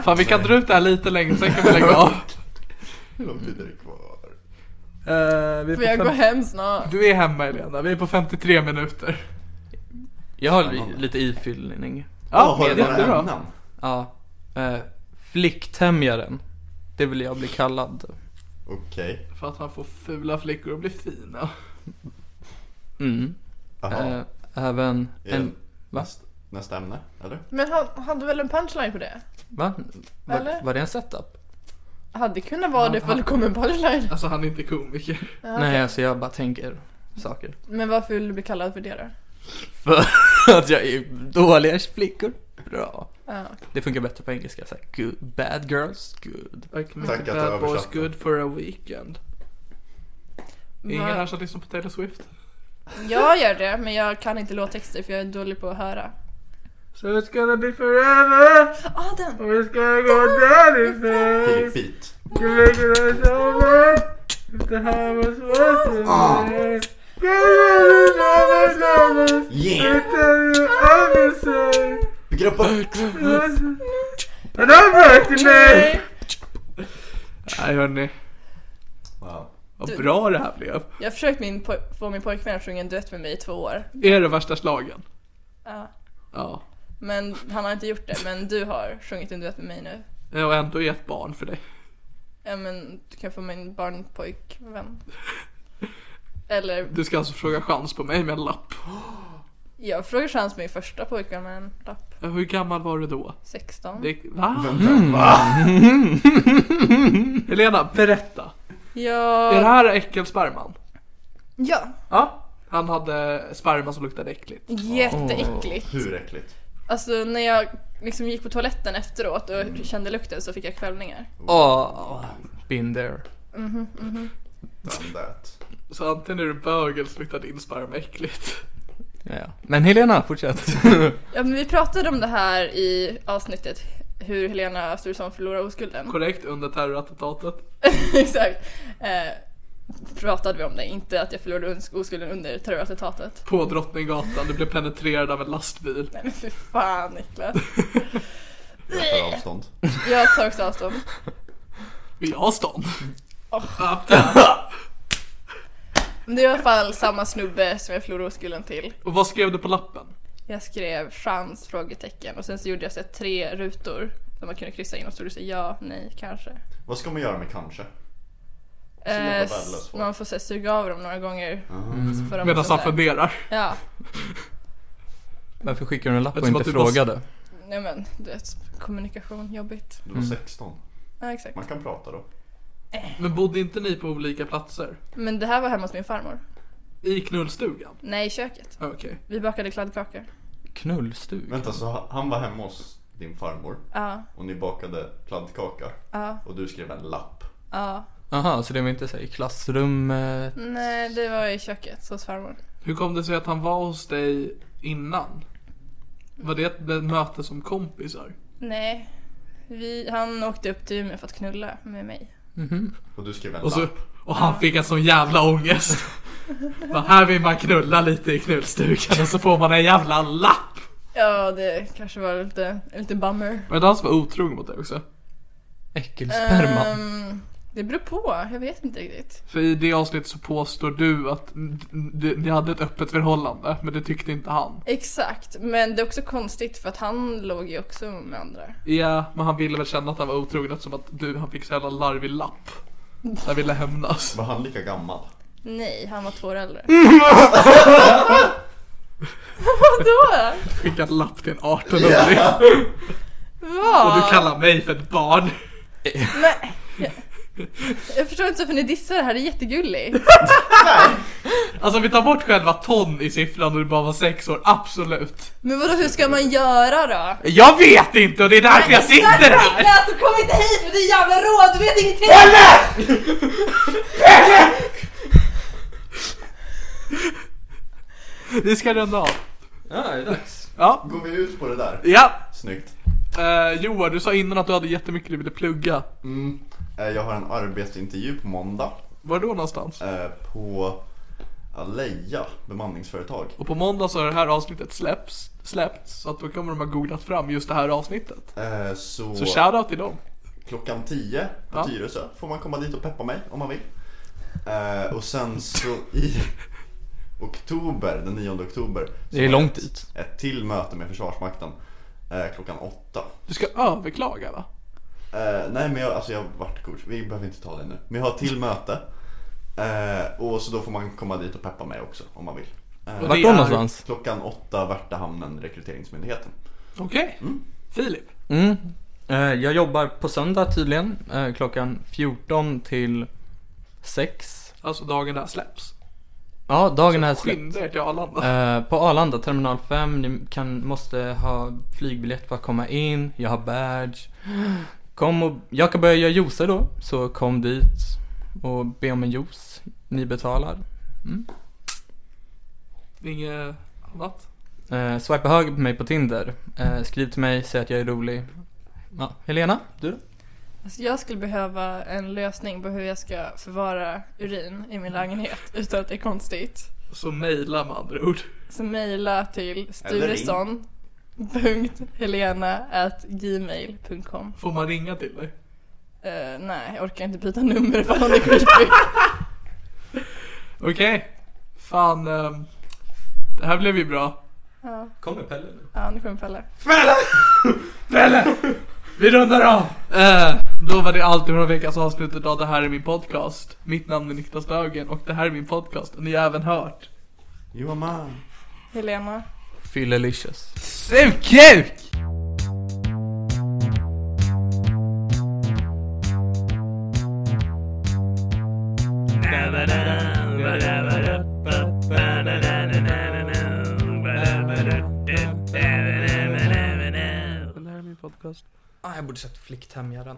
Fan vi kan dra ut det här lite längre sen kan vi lägga av.
Hur lång tid är det kvar?
Eh, vi är
Får
på
jag gå
fem-
hem snart?
Du är hemma Helena, vi är på 53 minuter.
Jag har li- lite ifyllning.
Ja,
har du några
jättebra.
ämnen?
Ja. Eh, flicktämjaren. Det vill jag bli kallad.
Okej.
För att han får fula flickor och blir fina.
Mm.
Jaha.
Eh, även
Är det
en... Va?
näst- Nästa ämne, eller?
Men han hade väl en punchline på det?
Va? Var,
Eller?
var det en setup?
Hade kunnat vara det för det kom en punchline.
Alltså han är inte komiker.
Nej, alltså jag bara tänker saker.
Men varför vill du bli kallad för det då?
För att jag är dåliga flickor. Bra.
Ja.
Det funkar bättre på engelska. Så här, good, bad girls, good.
Like
Tack att du
bad boys
översatte.
good for a weekend. Ingen
Va-
här som lyssnar på Taylor Swift.
Jag gör det, men jag kan inte låttexter för jag är dålig på att höra.
So it's gonna be forever,
Ah, den!
it's gonna go down in flames.
Filip Beat.
You make it all so much. If the high was worth it, man. Girl, never, never. I
Yeah!
tell you I'm the same.
Tycker upp!
And I'm working it. Nej hörni,
Wow.
vad bra det här blev.
Jag har försökt min poj- få min pojkvän att sjunga en duett med mig i två år.
Är det värsta slagen?
Ja.
Ja.
Men han har inte gjort det, men du har sjungit en duett med mig nu.
Och ändå är ett barn för dig.
Ja men du kan få min barnpojkvän. Eller,
Du ska alltså fråga chans på mig med en lapp.
jag frågade chans med min första pojkvän med en lapp.
Hur gammal var du då?
16.
Det, va? Mm. Helena, berätta. Är det
Ja,
här äckelsperman?
ja.
Ja. Han hade sperma som luktade äckligt.
Jätteäckligt.
Hur äckligt?
Alltså när jag liksom gick på toaletten efteråt och kände lukten så fick jag kvällningar.
Åh, been there.
Done that.
Så antingen är du bög eller så luktar din sperma äckligt.
Ja, ja. Men Helena, fortsätt.
Ja, men vi pratade om det här i avsnittet hur Helena Östersson förlorar oskulden.
Korrekt, under terrorattentatet.
Exakt. Eh, pratade vi om det, inte att jag förlorade os- oskulden under terrorattentatet.
På Drottninggatan, du blev penetrerad av en lastbil.
Nej men för fan Niklas.
Jag tar avstånd.
Jag tar också avstånd.
Vill jag ha stånd?
Men det är i alla fall samma snubbe som jag förlorade oskulden till.
Och vad skrev du på lappen?
Jag skrev chans? Frågetecken och sen så gjorde jag så här, tre rutor där man kunde kryssa in och så stod det så här, ja, nej, kanske.
Vad ska man göra med kanske? jävla
Eh, s-
värdelös folk.
man får så här, suga av dem några gånger. Så får de
Medan
så
han
här-
funderar.
Ja,
Varför skickar du en lapp och
Eftersom att
inte
du bara-
frågade?
nej men du vet, kommunikation, jobbigt.
Du var 16.
Ja, exakt.
Man kan prata då.
Men bodde inte ni på olika platser?
Men det här var hemma hos min farmor.
I knullstugan?
Nej, i köket.
Okej.
Vi bakade kladdkakor.
Knullstug?
Vänta, så ha- han var hemma hos din farmor
Ja,
och ni bakade kladdkaka
ja,
och du skrev en lapp.
ja.
Aha, så det var inte så här i klassrummet?
Nej, det var i köket hos farmor.
Hur kom det sig att han var hos dig innan? Var det ett ett möte som kompisar?
Nej, vi, han åkte upp till Umeå för att knulla med mig.
Och du skrev en
Och, så,
lapp.
och han fick en sån jävla ångest. Bara, här vill man knulla lite i knullstugan och så får man en jävla lapp.
Ja, det kanske var lite, lite bummer.
Var det han som var otrogen mot dig också?
Äckelsperman?
Ehm, det beror på, jag vet inte riktigt.
För i det avsnittet så påstår du att n- n- ni hade ett öppet förhållande, men det tyckte inte han.
Exakt, men det är också konstigt för att han låg ju också med andra.
Ja, men han ville väl känna att han var otrogen eftersom att du, han fick så jävla larvig lapp. Han ville hämnas.
Var han lika gammal?
Nej, han var två år äldre. Vadå?
Skicka en lapp till en 18-åring. Och du kallar mig för ett barn.
Nej. jag- Jag förstår inte varför ni dissar det här, det är jättegulligt.
Alltså vi tar bort själva ton i siffran och du bara var sex år, absolut.
Men vadå, hur ska man göra då?
Jag vet inte och det är därför jag sitter här!
Niklas, alltså, kom inte hit med din jävla råd, du vet ingenting!
Vi ska runda av.
Ja, det är dags.
Ja.
Går vi ut på det där?
Ja.
Snyggt.
Eh, Johan, du sa innan att du hade jättemycket du ville plugga.
Mm. Eh, Jag har en arbetsintervju på måndag
Var då någonstans?
eh, på Aleja bemanningsföretag.
Och på måndag så har det här avsnittet släpps, släppts, så att då kommer de ha googlat fram just det här avsnittet.
Eh, Så,
Så shoutout till dem.
klockan 10 på
Ja.
Tyresö får man komma dit och peppa mig om man vill. Eh, Och sen så i oktober, den 9 oktober.
Det är långt dit.
Ett till möte med Försvarsmakten eh, klockan 8.
Du ska överklaga va?
Eh, nej men jag, alltså jag vart coach, vi behöver inte ta det nu. Men jag har ett till möte. Eh, och så då får man komma dit och peppa mig också om man vill.
Och
Vart
det
då
är-
någonstans?
Klockan åtta, Värtahamnen, Rekryteringsmyndigheten.
Okej. Filip.
Mm. Eh, Jag jobbar på söndag tydligen, eh, klockan 14 till 6.
Alltså dagen där släpps.
Ja, dagen här släppt.
Skynda er till Arlanda.
Eh, På Arlanda, terminal 5, ni kan, måste ha flygbiljett för att komma in, jag har badge. Kom och, jag kan börja göra juicer då, så kom dit och be om en juice. Ni betalar.
Inget annat?
Eh, swipa höger på mig på Tinder. Eh, skriv till mig, säg att jag är rolig. Ja, Helena, du då?
Alltså jag skulle behöva en lösning på hur jag ska förvara urin i min lägenhet utan att det är konstigt.
Så mejla med andra ord.
Så mejla till
Eller ring.
sturesson.helena.gmail.com
Får man ringa till dig?
uh, Nej, jag orkar inte byta nummer för hon är creepy.
Okej. Fan. ehm, det här blev ju bra.
Ja,
Kommer Pelle nu?
ja nu kommer Pelle.
Pelle! Pelle! Vi rundar av! Eh, då var det allt från veckans avsnitt av Det här är min podcast. Mitt namn är Niklas Dagen och det här är min podcast. Och ni har även hört...
Johan man.
Helena.
Fyllelicious.
Sugkuk! Det här är min podcast.
Ah, jag borde sett flicktämjaren.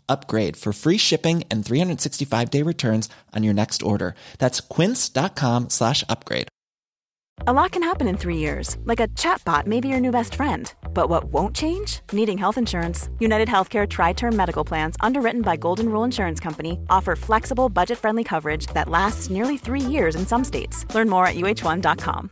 upgrade for free shipping and 365-day returns on your next order. That's quince.com slash upgrade.
A lot can happen in three years, like a chatbot may be your new best friend. But what won't change? Needing health insurance. United Healthcare Tri Term Medical Plans, underwritten by Golden Rule Insurance Company, offer flexible, budget friendly coverage that lasts nearly three years in some states. Learn more at uh1.com.